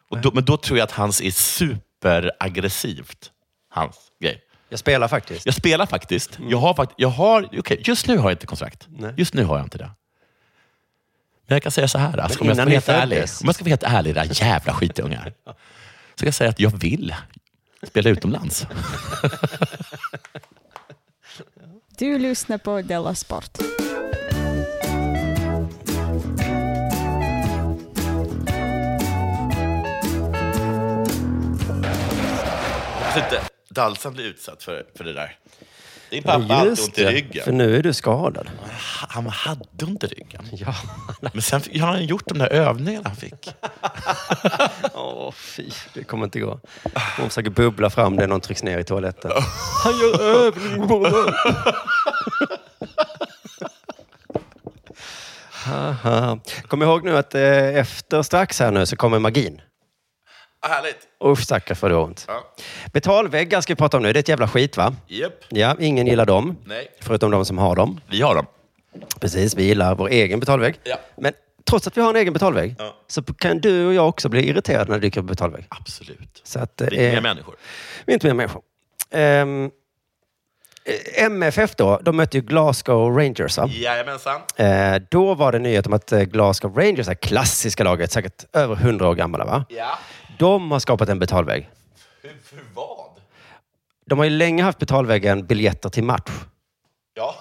Speaker 2: Och då, men då tror jag att hans är superaggressivt. Hans grej.
Speaker 1: Jag spelar faktiskt.
Speaker 2: Jag spelar faktiskt. Jag har fakt jag har, okay, just nu har jag inte kontrakt.
Speaker 1: Mm. Nej.
Speaker 2: Just nu har jag inte det. Men jag kan säga så här, alltså, om,
Speaker 1: innan
Speaker 2: jag ska vara
Speaker 1: ni
Speaker 2: helt ärlig,
Speaker 1: föddes.
Speaker 2: om jag ska vara helt ärlig, era jävla skitungar. Så kan jag säga att jag vill spela utomlands.
Speaker 8: Du lyssnar på Della Sport.
Speaker 2: Alltså inte Dalsan blir utsatt för, för det där. Din pappa
Speaker 1: Ja,
Speaker 2: hade
Speaker 1: just
Speaker 2: ont i
Speaker 1: det. För
Speaker 2: ryggen.
Speaker 1: nu är du skadad.
Speaker 2: Han hade ont i ryggen.
Speaker 1: Ja.
Speaker 2: Men sen fick- har han gjort de där övningarna han fick.
Speaker 1: Åh, fy. Det kommer inte gå. Hon försöker bubbla fram det när hon trycks ner i toaletten. Han gör övning på mig. Haha. Kom ihåg nu att eh, efter strax här nu så kommer magin.
Speaker 2: Ah, härligt.
Speaker 1: Usch stackars vad det gör ont.
Speaker 2: Ja.
Speaker 1: Betalväggar ska vi prata om nu. Det är ett jävla skit va?
Speaker 2: Japp.
Speaker 1: Ja, ingen gillar dem.
Speaker 2: Nej.
Speaker 1: Förutom de som har dem.
Speaker 2: Vi har dem.
Speaker 1: Precis, vi gillar vår egen betalvägg.
Speaker 2: Ja.
Speaker 1: Men trots att vi har en egen betalvägg
Speaker 2: Ja.
Speaker 1: så kan du och jag också bli irriterade när det dyker upp betalvägg.
Speaker 2: Absolut.
Speaker 1: Så att,
Speaker 2: Vi är
Speaker 1: eh,
Speaker 2: mer människor.
Speaker 1: vi är inte mer människor. Ehm, eh, MFF då, de mötte ju Glasgow Rangers. Va?
Speaker 2: Jajamensan.
Speaker 1: Eh, då var det nyhet om att eh, Glasgow Rangers, det här klassiska laget, säkert över 100 år gamla, va?
Speaker 2: Ja.
Speaker 1: de har skapat en betalvägg.
Speaker 2: Hur, för vad?
Speaker 1: De har ju länge haft betalväggen biljetter till match,
Speaker 2: Ja.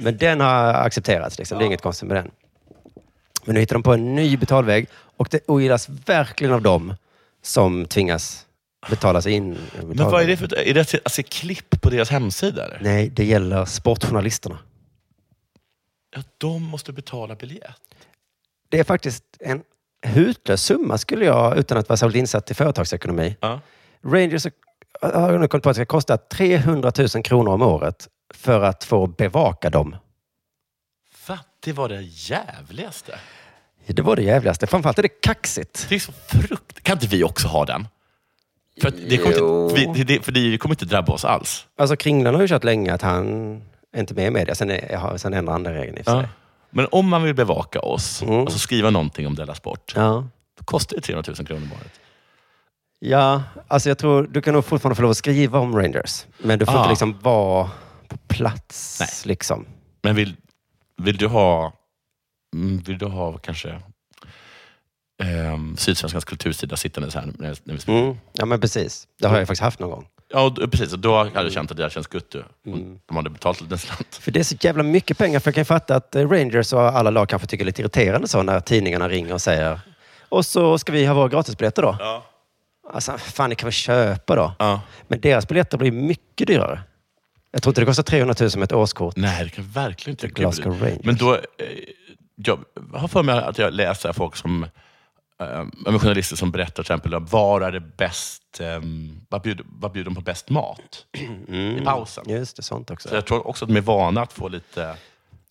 Speaker 1: men den har accepterats. Liksom. Det är inget konstigt med den. Men nu hittar de på en ny betalvägg och det ogillas verkligen av dem som tvingas betala sig in.
Speaker 2: Men vad är det för är det alltså, klipp på deras hemsida? Eller?
Speaker 1: Nej, det gäller sportjournalisterna.
Speaker 2: Ja, de måste betala biljett.
Speaker 1: Det är faktiskt en hutlös summa skulle jag, utan att vara särskilt insatt i företagsekonomi.
Speaker 2: Ja.
Speaker 1: Rangers har nu kommit på att det ska kosta 300 000 kronor om året för att få bevaka dem.
Speaker 2: Va? Det var det jävligaste.
Speaker 1: Det var det jävligaste. Framförallt är det kaxigt.
Speaker 2: Det är så frukt... Kan inte vi också ha den? För, att det, kommer
Speaker 1: Jo.
Speaker 2: inte, vi, det, för det kommer inte drabba oss alls.
Speaker 1: Alltså Kringlan har ju kört länge att han är inte med i media. Sen, är, ja, sen ändrar han den regeln i och för sig.
Speaker 2: Men om man vill bevaka oss,
Speaker 1: Mm.
Speaker 2: alltså skriva någonting om Della Sport,
Speaker 1: Ja.
Speaker 2: då kostar det 300 000 kronor om året.
Speaker 1: ja, alltså jag tror du kan nog fortfarande få lov att skriva om Rangers. Men du får
Speaker 2: Ah.
Speaker 1: inte liksom vara på plats.
Speaker 2: Nej.
Speaker 1: Liksom.
Speaker 2: Men vill, vill du ha mm, vill du ha kanske ehm, Sydsvenskans kultursida sittandes här när, när vi spelar?
Speaker 1: Mm. Ja, men precis. Det har jag faktiskt haft någon gång.
Speaker 2: Ja, och, då- precis. Och då hade jag känt att det här känns guttu. Mm. De hade betalat en liten slant.
Speaker 1: För det är så jävla mycket pengar. För jag kan fatta att eh, Rangers och alla lag kanske tycker det är lite irriterande så när tidningarna ringer och säger och så ska vi ha våra gratisbiljetter då.
Speaker 2: Ja.
Speaker 1: Alltså, fan, ni kan väl köpa då?
Speaker 2: Ja.
Speaker 1: Men deras biljetter blir mycket dyrare. Jag tror inte det kostar 300 000 med ett årskort.
Speaker 2: Nej, det kan jag verkligen inte.
Speaker 1: The Glasgow
Speaker 2: Gud.
Speaker 1: Rangers.
Speaker 2: Men då, eh, jag har för mig att jag läser folk som eh, men journalister som berättar till exempel om var är det bäst, eh, vad, bjuder, vad bjuder de på bäst mat
Speaker 1: Mm.
Speaker 2: i pausen?
Speaker 1: Just det, sånt också.
Speaker 2: Så jag tror också att de är vana att få lite...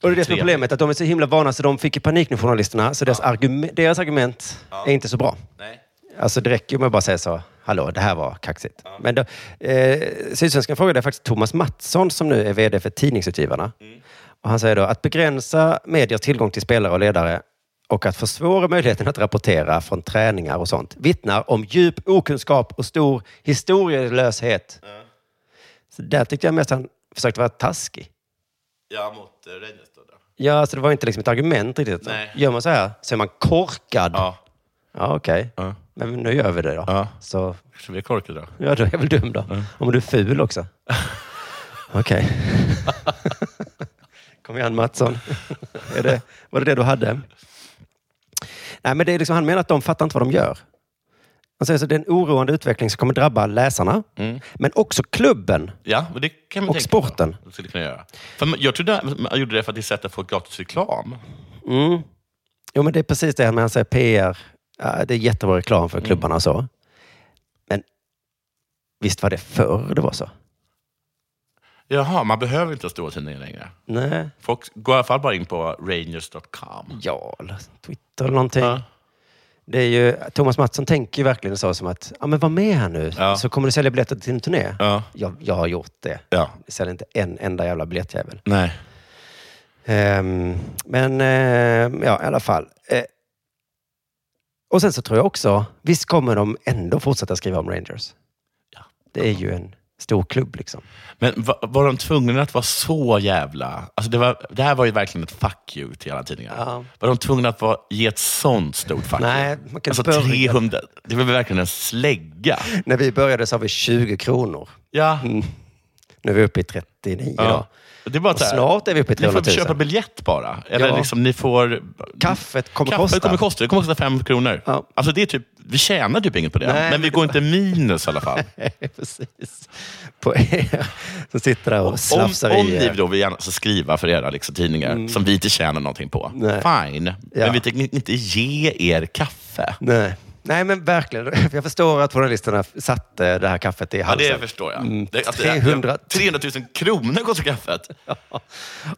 Speaker 1: Och det är det som är
Speaker 2: trevligt.
Speaker 1: problemet, att de är så himla vana så de fick ju panik nu, journalisterna. Så deras, argument, deras argument är inte så bra.
Speaker 2: Nej.
Speaker 1: Alltså det räcker ju med att bara säga så. Hallå, det här var kaxigt. Men då, eh, Sydsvenskan frågade faktiskt Thomas Mattsson som nu är VD för Tidningsutgivarna. Och han säger då att begränsa mediers tillgång till spelare och ledare och att försvåra möjligheten att rapportera från träningar och sånt vittnar om djup okunskap och stor historielöshet. Så där tyckte jag mest han försökte vara taskig.
Speaker 2: Ja, mot eh, Rangers då.
Speaker 1: Ja, alltså det var inte liksom ett argument riktigt.
Speaker 2: Nej.
Speaker 1: Gör man så här så är man korkad. Ja, ja okej. Men nu gör vi det då. Ja. Så
Speaker 2: Eftersom vi är korkade då.
Speaker 1: Ja, då är jag väl dum då. Om du är ful också. Okej. Kom igen Mattsson. är det, var det det du hade? Nej, men det är liksom, han menar att de fattar inte vad de gör. Han säger så det är en oroande utveckling som kommer drabba läsarna, men också klubben.
Speaker 2: Ja, men det kan man
Speaker 1: Och
Speaker 2: tänka
Speaker 1: sporten.
Speaker 2: på. Det skulle kunna göra. För man- jag trodde man gjorde det för att det är ett sätt att få gratis reklam.
Speaker 1: Mm. Jo, men det är precis det när han säger PR. Ja, det är jättebra reklam
Speaker 2: Mm.
Speaker 1: för klubbarna och så. Men visst var det förr det var så?
Speaker 2: Jaha, man behöver inte stora tidningar längre.
Speaker 1: Nej.
Speaker 2: Folk går i alla fall bara in på rangers.com.
Speaker 1: Ja, eller Twitter eller någonting. Det är ju, Thomas Mattsson tänker ju verkligen så som att, ja men var med här nu,
Speaker 2: Ja.
Speaker 1: så kommer du sälja biljetter till en turné.
Speaker 2: Ja.
Speaker 1: Jag, jag har gjort det.
Speaker 2: Ja.
Speaker 1: Jag säljer inte en enda jävla biljettjävel.
Speaker 2: Nej.
Speaker 1: Ehm, men ehm, ja, i alla fall. Eh, och sen så tror jag också, visst kommer de ändå fortsätta skriva om Rangers? Det är ju en stor klubb liksom.
Speaker 2: Men va- var de tvungna att vara så jävla... Alltså det, var, det här var ju verkligen ett fuck you till alla tidningar. Var de tvungna att vara, ge ett sånt stort fuck
Speaker 1: Nej,
Speaker 2: you?
Speaker 1: man kan
Speaker 2: Alltså
Speaker 1: börja.
Speaker 2: 300... Det var väl verkligen en slägga.
Speaker 1: När vi började så har vi 20 kronor.
Speaker 2: Ja.
Speaker 1: Mm. Nu är vi uppe i 39 idag.
Speaker 2: Det är bara
Speaker 1: Och
Speaker 2: så här,
Speaker 1: snart är vi uppe i 300
Speaker 2: Ni
Speaker 1: 000.
Speaker 2: får köpa biljett bara. Eller
Speaker 1: Ja.
Speaker 2: liksom, ni får...
Speaker 1: Kaffet kommer
Speaker 2: Kaffet
Speaker 1: kosta.
Speaker 2: kommer kosta. Det kommer kosta fem kronor. Alltså det är typ, vi tjänar typ inget på det.
Speaker 1: Nej,
Speaker 2: men
Speaker 1: men
Speaker 2: vi går inte minus i alla fall.
Speaker 1: Precis. På er som sitter där och
Speaker 2: Om,
Speaker 1: slafsar
Speaker 2: om
Speaker 1: i
Speaker 2: ni
Speaker 1: er.
Speaker 2: då vill gärna så skriva för era liksom, tidningar som vi inte tjänar någonting på,
Speaker 1: Nej.
Speaker 2: fine.
Speaker 1: Ja.
Speaker 2: Men vi tänker inte ge er kaffe.
Speaker 1: Nej. Nej, men verkligen. Jag förstår att journalisterna satte det här kaffet i
Speaker 2: Ja,
Speaker 1: halsen.
Speaker 2: det förstår jag.
Speaker 1: Mm.
Speaker 2: Det, att det-
Speaker 1: 300
Speaker 2: 300 000 kronor kostar kaffet.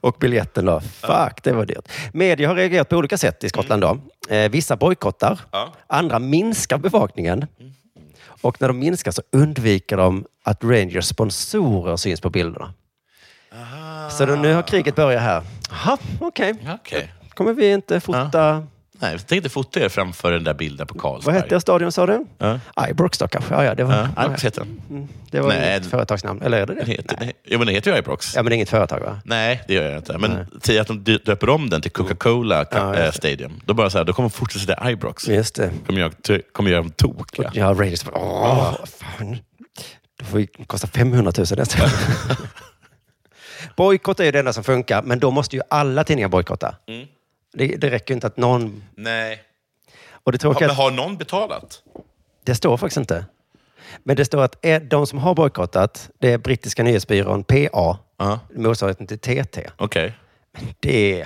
Speaker 1: Och biljetten då. Fuck, det var dyrt. Media har reagerat på olika sätt i Skottland då. Eh, vissa bojkottar.
Speaker 2: Ja.
Speaker 1: Andra minskar bevakningen. Och när de minskar så undviker de att Rangers sponsorer syns på bilderna. Så då, nu har kriget börjat här. Jaha, okej.
Speaker 2: Okej.
Speaker 1: kommer vi inte fota...
Speaker 2: Nej, jag tänkte fota er framför den där bilden på Karlsberg.
Speaker 1: Vad hette jag stadion sa du?
Speaker 2: Ja.
Speaker 1: Ibrox då kanske? Ja, ja, det var,
Speaker 2: Ja, Ibrox heter den.
Speaker 1: Mm, det var
Speaker 2: Nej,
Speaker 1: inget företagsnamn. Eller är det det?
Speaker 2: Den heter, nej. Jo, men den heter ju Ibrox.
Speaker 1: Ja, men det är inget företag va?
Speaker 2: Nej, det gör jag inte. Men säg att de dy- döper om den till Coca-Cola eh, Stadium. Då bara så här, då kommer de fortsätta säga Ibrox.
Speaker 1: Just det.
Speaker 2: Kommer jag, ty- kommer göra dem tokiga.
Speaker 1: Ja, Rangers bara, åh, fan. Det får ju kosta 500 000 nästa gång. Bojkott är ju det enda som funkar, men då måste ju alla tidningar bojkotta.
Speaker 2: Mm.
Speaker 1: Det, det räcker ju inte att någon...
Speaker 2: Nej.
Speaker 1: Och det
Speaker 2: Har,
Speaker 1: tråkiga är
Speaker 2: men
Speaker 1: att
Speaker 2: har någon betalat?
Speaker 1: det står faktiskt inte. Men det står att eh, de som har bojkottat, det är brittiska nyhetsbyrån PA, motsvarigheten till TT.
Speaker 2: Okej.
Speaker 1: Det,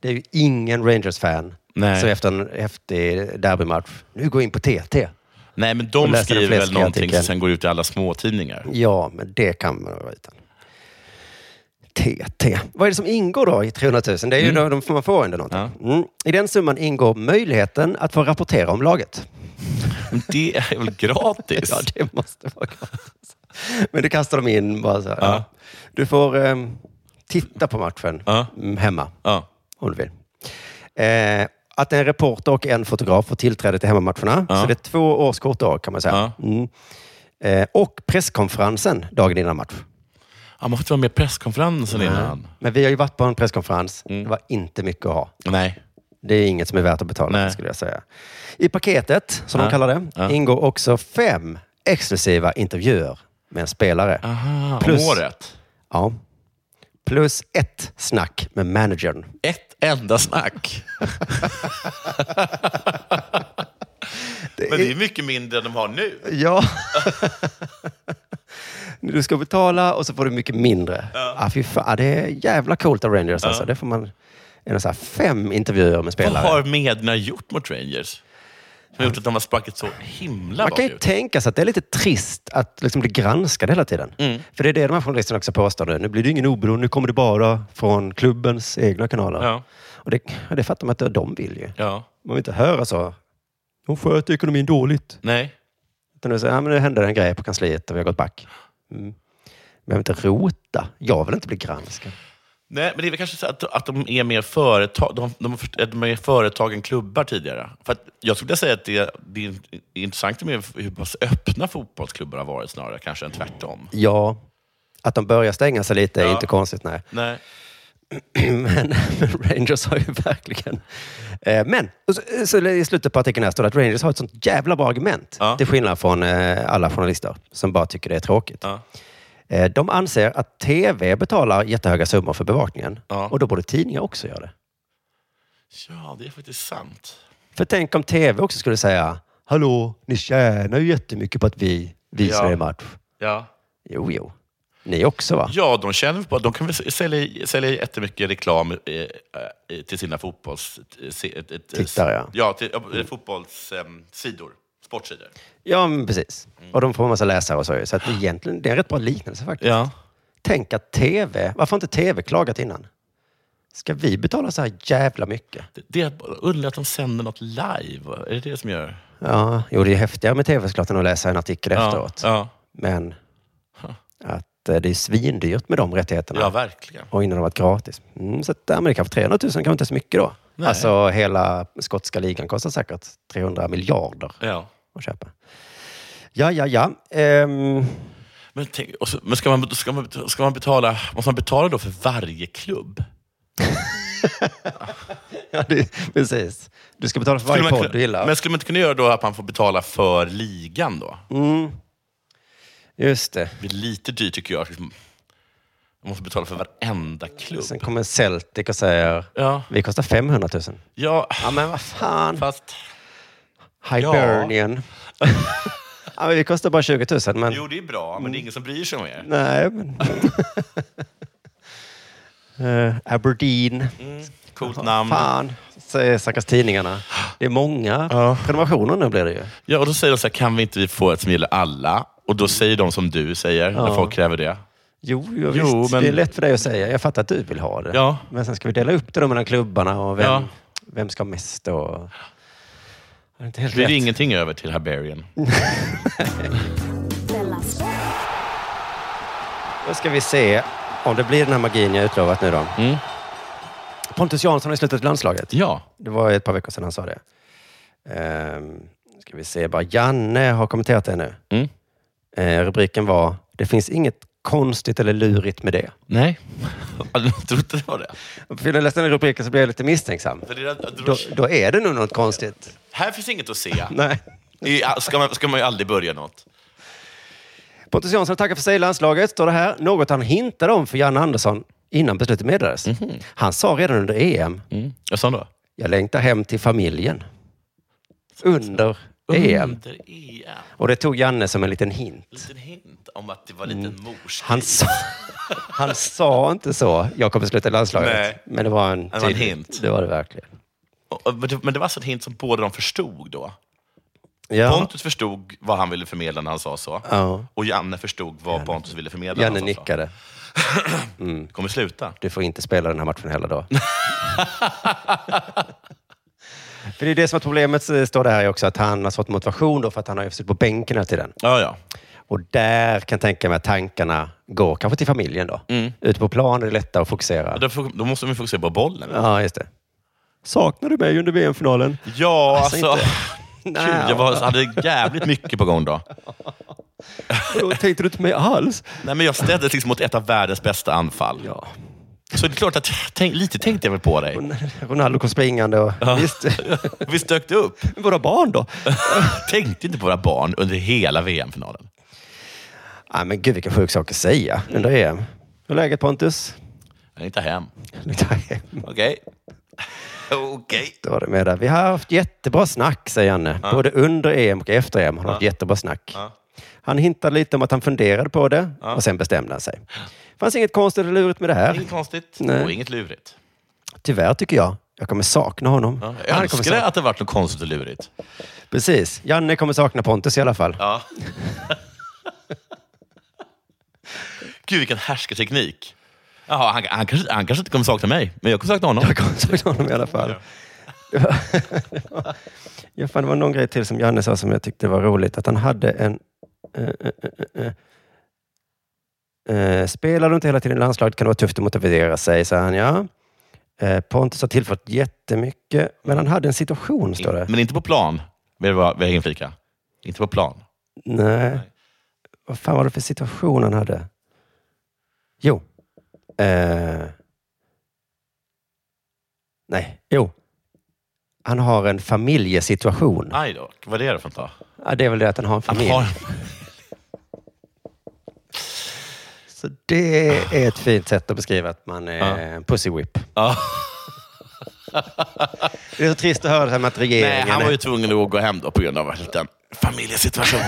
Speaker 1: det är ju ingen Rangers-fan
Speaker 2: Nej.
Speaker 1: som efter en häftig derbymatch, nu går in på TT.
Speaker 2: Nej, men
Speaker 1: Och
Speaker 2: de
Speaker 1: läser den
Speaker 2: skriver väl
Speaker 1: fläskiga
Speaker 2: någonting
Speaker 1: artikeln.
Speaker 2: som sen går ut i alla småtidningar.
Speaker 1: Ja, men det kan man vara utan. TT. Vad är det som ingår då i 300 000? Det är ju då de man får ändå någonting. Mm. I den summan ingår möjligheten att få rapportera om laget.
Speaker 2: Men Det är väl gratis?
Speaker 1: ja, det måste vara gratis. Men det kastar de in bara så här. Du får ehm, titta på matchen mm, hemma,
Speaker 2: Ja.
Speaker 1: om du vill. Eh, att en reporter och en fotograf får tillträde till hemmamatcherna. Så det är två årskort då, kan man säga. Mm. Eh, och presskonferensen dagen innan match.
Speaker 2: Han måste vara med i presskonferensen innan. Mm.
Speaker 1: Men vi har ju varit på en presskonferens. Det var inte mycket att ha.
Speaker 2: Nej.
Speaker 1: Det är inget som är värt att betala för, skulle jag säga. I paketet, som de kallar det, ingår också fem exklusiva intervjuer med en spelare.
Speaker 2: Aha,
Speaker 1: Plus-
Speaker 2: om året.
Speaker 1: Ja. Plus ett snack med managern.
Speaker 2: Ett enda snack. Men det är mycket mindre än de har nu.
Speaker 1: Ja. du ska betala och så får du mycket mindre. Ah, fy fan, ah, det är jävla coolt av Rangers. Alltså. Det får man... En så här fem intervjuer med
Speaker 2: Vad
Speaker 1: spelare.
Speaker 2: har medierna gjort mot Rangers? Som har gjort att de har sprackit så himla
Speaker 1: Man kan ju
Speaker 2: bakut.
Speaker 1: tänka sig att det är lite trist att liksom bli granskad hela tiden.
Speaker 2: Mm.
Speaker 1: För det är det de här journalisterna också påstår nu. Nu blir det ingen oberoende, nu kommer det bara från klubbens egna kanaler.
Speaker 2: Ja.
Speaker 1: Och det, ja, det fattar man att de vill ju.
Speaker 2: Ja.
Speaker 1: Man vill inte höra så. De sköter ekonomin dåligt.
Speaker 2: Nej.
Speaker 1: Utan nu säger ja, men nu hände det en grej på kansliet och vi har gått back. Mm. Men jag vill inte rota. Jag vill inte bli granskad.
Speaker 2: Nej, men det är väl kanske så att, att de är mer företag, de, de, de är företag än klubbar tidigare. För att jag skulle vilja säga att det, det är intressant med hur pass öppna fotbollsklubbar har varit snarare kanske än tvärtom.
Speaker 1: Ja, att de börjar stänga sig lite är inte konstigt. Nej.
Speaker 2: Nej.
Speaker 1: men Rangers har ju verkligen... Eh, men och så, så i slutet på artikeln här står det att Rangers har ett sånt jävla bra argument. Till skillnad från eh, alla journalister som bara tycker det är tråkigt. Eh, de anser att tv betalar jättehöga summor för bevakningen. Och då borde tidningar också göra det.
Speaker 2: Ja, det är faktiskt sant.
Speaker 1: För tänk om tv också skulle säga, hallå, ni tjänar ju jättemycket på att vi visar
Speaker 2: Ja.
Speaker 1: er match.
Speaker 2: Ja.
Speaker 1: Jo, jo. Ni också va?
Speaker 2: Ja, de känner på att de kan väl sälja, sälja jättemycket reklam eh, eh, till sina fotbolls... eh, se- ett- ett-
Speaker 1: Tittare, ja.
Speaker 2: Ja, till mm. fotbollssidor. Sportsidor.
Speaker 1: Ja, men precis. Och de får en massa läsare och så. Så att egentligen, det är en rätt bra liknelse faktiskt. Tänk att tv, varför har inte tv klagat innan? Ska vi betala så här jävla mycket?
Speaker 2: Det, det är att- underligt att de sänder något live. Är det det som gör...
Speaker 1: Ja, jo det är häftigare med tv såklart än att läsa en artikel efteråt.
Speaker 2: Ja,
Speaker 1: Men att eh, det är svindyrt med de rättigheterna.
Speaker 2: ja verkligen.
Speaker 1: Och innan det har varit gratis. Mm, så att, ja, men det kanske 300 000 kanske inte är så mycket då.
Speaker 2: Nej.
Speaker 1: Alltså hela skotska ligan kostar säkert 300 miljarder
Speaker 2: Ja.
Speaker 1: att köpa. Ja, ja, ja. Ehm,
Speaker 2: Men, tänk, och så, men ska, man, ska, man, ska man betala... Måste man betala då för varje klubb?
Speaker 1: ja det, precis. Du ska betala för varje
Speaker 2: Skulle man
Speaker 1: podd
Speaker 2: kunna-
Speaker 1: du gillar.
Speaker 2: Men skulle man inte kunna göra då att man får betala för ligan då?
Speaker 1: Mm. Just det.
Speaker 2: Det blir lite dyrt tycker jag. Liksom, Man måste betala för varenda klubb.
Speaker 1: Sen kommer Celtic och säger,
Speaker 2: Ja.
Speaker 1: vi kostar 500 000.
Speaker 2: Ja,
Speaker 1: men vad fan.
Speaker 2: Fast,
Speaker 1: Hibernian. Ja. men vi kostar bara 20 000. Men...
Speaker 2: jo, det är bra, men det är ingen som bryr sig om er.
Speaker 1: Nej, men... Eh, Aberdeen.
Speaker 2: Mm, coolt namn.
Speaker 1: Fan, säger stackars tidningarna. Det är många prenumerationer nu blir det ju.
Speaker 2: Ja, och då säger de så här, kan vi inte vi få ett som gäller alla? Och då säger de som du säger, när
Speaker 1: Mm. Ja.
Speaker 2: folk kräver det.
Speaker 1: Jo, jo,
Speaker 2: Jo,
Speaker 1: visst.
Speaker 2: men-
Speaker 1: Det är lätt för dig att säga. Jag fattar att du vill ha det.
Speaker 2: Ja.
Speaker 1: Men sen ska vi dela upp det då mellan klubbarna och vem,
Speaker 2: Ja.
Speaker 1: vem ska ha mest då? Det är inte
Speaker 2: Det
Speaker 1: helt
Speaker 2: blir
Speaker 1: rätt. Mm.
Speaker 2: det ingenting över till Hibernian.
Speaker 1: Då ska vi se om det blir den här magin jag utlovat nu då. Pontus Jansson har ju slutat i landslaget.
Speaker 2: Ja.
Speaker 1: Det var ett par veckor sedan han sa det. Ehm, ska vi se bara. Janne har kommenterat det nu.
Speaker 2: Mm.
Speaker 1: Eh, rubriken var Det finns inget konstigt eller lurigt med det.
Speaker 2: Nej. Jag trodde det var det.
Speaker 1: För när jag läste den här rubriken så blev jag lite misstänksam.
Speaker 2: För det är-
Speaker 1: Då, då är det nog något konstigt.
Speaker 2: Här finns inget att se.
Speaker 1: Nej.
Speaker 2: I- Ska man, ska man ju aldrig börja något.
Speaker 1: Pontus Jansson tackar för sig i landslaget, står det här. Något han hintade om för Janne Andersson innan beslutet meddelades. Han sa redan under E EM,
Speaker 2: Jag sa då?
Speaker 1: jag längtar hem till familjen. Under EM.
Speaker 2: Under EM.
Speaker 1: Och det tog Janne som en liten hint.
Speaker 2: Liten hint om att det var en liten mors.
Speaker 1: Mm. Han sa, han sa inte så, jag kommer sluta i landslaget.
Speaker 2: Nej.
Speaker 1: Men det var en,
Speaker 2: Det var en
Speaker 1: tydlig-
Speaker 2: hint.
Speaker 1: Det var det verkligen.
Speaker 2: Och- och- Men det, men det var alltså en hint som båda de förstod då?
Speaker 1: Ja.
Speaker 2: Pontus förstod vad han ville förmedla när han sa så.
Speaker 1: Ja.
Speaker 2: Och Janne förstod vad Pontus ville förmedla
Speaker 1: Janne
Speaker 2: när han sa
Speaker 1: nickade.
Speaker 2: så. kommer sluta.
Speaker 1: Du får inte spela den här matchen heller då. för det är det som är problemet, så står det här också, att han har svårt med motivation då för att han har ju suttit på bänken hela tiden.
Speaker 2: Ja, ja.
Speaker 1: Och där kan jag tänka mig att tankarna går kanske till familjen då.
Speaker 2: Mm.
Speaker 1: Ute på plan är det lättare att fokusera.
Speaker 2: Då, får- då måste man ju fokusera på bollen.
Speaker 1: Ja, just det. Saknar du mig under VM-finalen?
Speaker 2: Ja, alltså.
Speaker 1: inte-
Speaker 2: Gud,
Speaker 1: Nej.
Speaker 2: jag var, hade jävligt mycket på gång då.
Speaker 1: Då tänkte du inte mig alls.
Speaker 2: Nej, men jag ställdes liksom mot ett av världens bästa anfall.
Speaker 1: Ja.
Speaker 2: Så det är klart att tänk, lite tänkte jag väl på dig.
Speaker 1: Ronaldo kom springande och visst,
Speaker 2: Visst dök det upp?
Speaker 1: våra barn då?
Speaker 2: tänkte inte på våra barn under hela VM-finalen.
Speaker 1: Nej, men gud vilka sjuk sak att säga under EM. Hur är läget Pontus?
Speaker 2: Jag inte hem. Okej. Okej.
Speaker 1: Då var det med där. Vi har haft jättebra snack, säger Janne. Både under EM och efter EM har han haft jättebra snack. Han hintade lite om att han funderade på det och sen bestämde han sig. fanns inget konstigt eller lurigt med det här.
Speaker 2: Inget konstigt
Speaker 1: Nej.
Speaker 2: och inget lurigt.
Speaker 1: Tyvärr tycker jag. Jag kommer sakna honom.
Speaker 2: Ja, jag
Speaker 1: Han kommer
Speaker 2: önskar
Speaker 1: sakna...
Speaker 2: att det varit något konstigt och lurigt.
Speaker 1: Precis. Janne kommer sakna Pontus i alla fall.
Speaker 2: Ja. Gud, vilken härskarteknik. Jaha, han, han, kanske, han kanske inte kommer sakna mig, men jag kommer sakna honom.
Speaker 1: Jag kommer sakna honom i alla fall. Det var, det var, ja, fan, det var någon grej till som Janne sa som jag tyckte var roligt. Att han hade en... eh, eh, eh, eh, Eh, spelar du inte hela tiden i landslaget kan det vara tufft att motivera sig, säger han. Ja. Eh, Pontus har tillfört jättemycket, men han hade en situation, står det.
Speaker 2: Men inte på plan, vill jag vill jag inflika. Inte på plan.
Speaker 1: Nej. Vad fan var det för situation han hade? Jo. Eh. Nej, jo. Han har en familjesituation.
Speaker 2: Aj då, vad är det för något då?
Speaker 1: Ja, det är väl det att Ah. han har en familj.
Speaker 2: har-
Speaker 1: Så det är ett fint sätt att beskriva att man är
Speaker 2: Ja.
Speaker 1: en pussy whip.
Speaker 2: Ja.
Speaker 1: Det är så trist att höra det här med att regeringen...
Speaker 2: Nej, han var ju tvungen att gå hem då på grund av en liten familjesituation.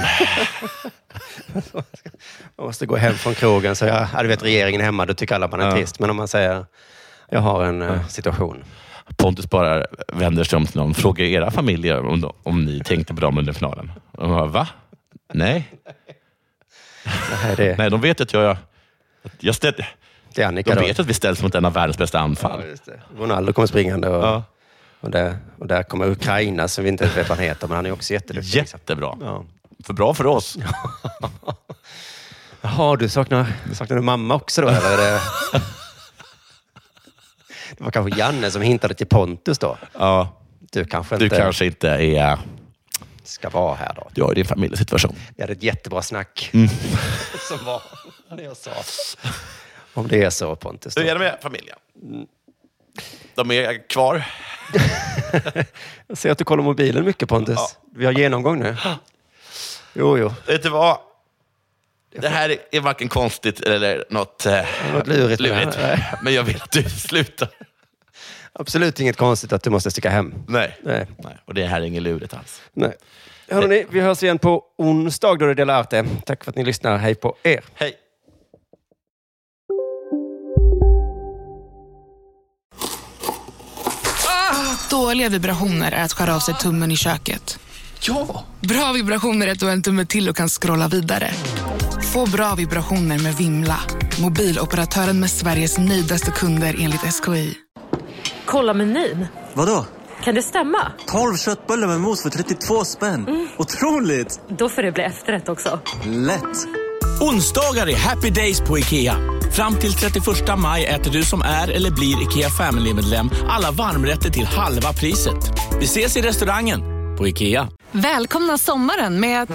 Speaker 1: Man måste gå hem från krogen. Så jag, ja, du vet, regeringen är hemma, då tycker alla man är trist. Men om man säger, jag har en eh, situation.
Speaker 2: Pontus bara vänder sig om till någon. Frågar era familjer om, de, om ni tänkte på dem under finalen. Och de bara, va? Nej.
Speaker 1: Nej, det...
Speaker 2: Nej, de vet att jag... att Jag ställ...
Speaker 1: Det är Annika
Speaker 2: de
Speaker 1: då.
Speaker 2: vet att vi ställs mot en av världens bästa anfall.
Speaker 1: Ronaldo kommer springande och,
Speaker 2: Ja.
Speaker 1: och, där, och där kommer Ukraina, som vi inte vet vad han heter, men han är också jätteduktig.
Speaker 2: Jättebra.
Speaker 1: Ja.
Speaker 2: För bra för oss.
Speaker 1: Jaha, du saknar, saknar du mamma också då? Eller? är det- Det var kanske Janne som hintade till Pontus då.
Speaker 2: Ja.
Speaker 1: Du kanske
Speaker 2: Du
Speaker 1: inte
Speaker 2: kanske inte är...
Speaker 1: ska vara här då.
Speaker 2: Du har ju din familjesituation.
Speaker 1: Vi hade ett jättebra snack
Speaker 2: Mm.
Speaker 1: som var när jag sa. Om det är så Pontus. då.
Speaker 2: Hur är det med familjen? Mm. De är kvar.
Speaker 1: Jag ser att du kollar mobilen mycket Pontus. Vi har genomgång nu. Jo, jo.
Speaker 2: Vet du vad? Det här är varken konstigt eller något, eh,
Speaker 1: Något lurigt med det här.
Speaker 2: lurigt.
Speaker 1: Nej.
Speaker 2: Men jag vill att du slutar.
Speaker 1: Absolut inget konstigt att du måste sticka hem.
Speaker 2: Nej.
Speaker 1: Nej.
Speaker 2: Nej. Och det här är inget lurigt alls.
Speaker 1: Nej. Hörrni, vi hörs igen på onsdag då det är Dela Arte. Tack för att ni lyssnar. Hej på er.
Speaker 2: Hej.
Speaker 9: Dåliga vibrationer är att skära av sig tummen i köket.
Speaker 7: Ja!
Speaker 9: Bra vibrationer är att du har en tumme till och kan scrolla vidare. Få bra vibrationer med Vimla. Mobiloperatören med Sveriges nöjdaste kunder enligt SKI.
Speaker 10: Kolla menyn.
Speaker 11: Vadå?
Speaker 10: Kan det stämma?
Speaker 11: 12 köttbullar med mos för 32 spänn.
Speaker 9: Mm.
Speaker 11: Otroligt!
Speaker 10: Då får det bli efterrätt också.
Speaker 11: Lätt!
Speaker 12: Onsdagar är happy days på IKEA. Fram till 31 maj äter du som är eller blir IKEA Family-medlem alla varmrätter till halva priset. Vi ses i restaurangen på IKEA.
Speaker 13: Välkomna sommaren med att...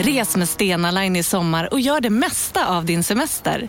Speaker 13: Res med Stena Line i sommar och gör det mesta av din semester.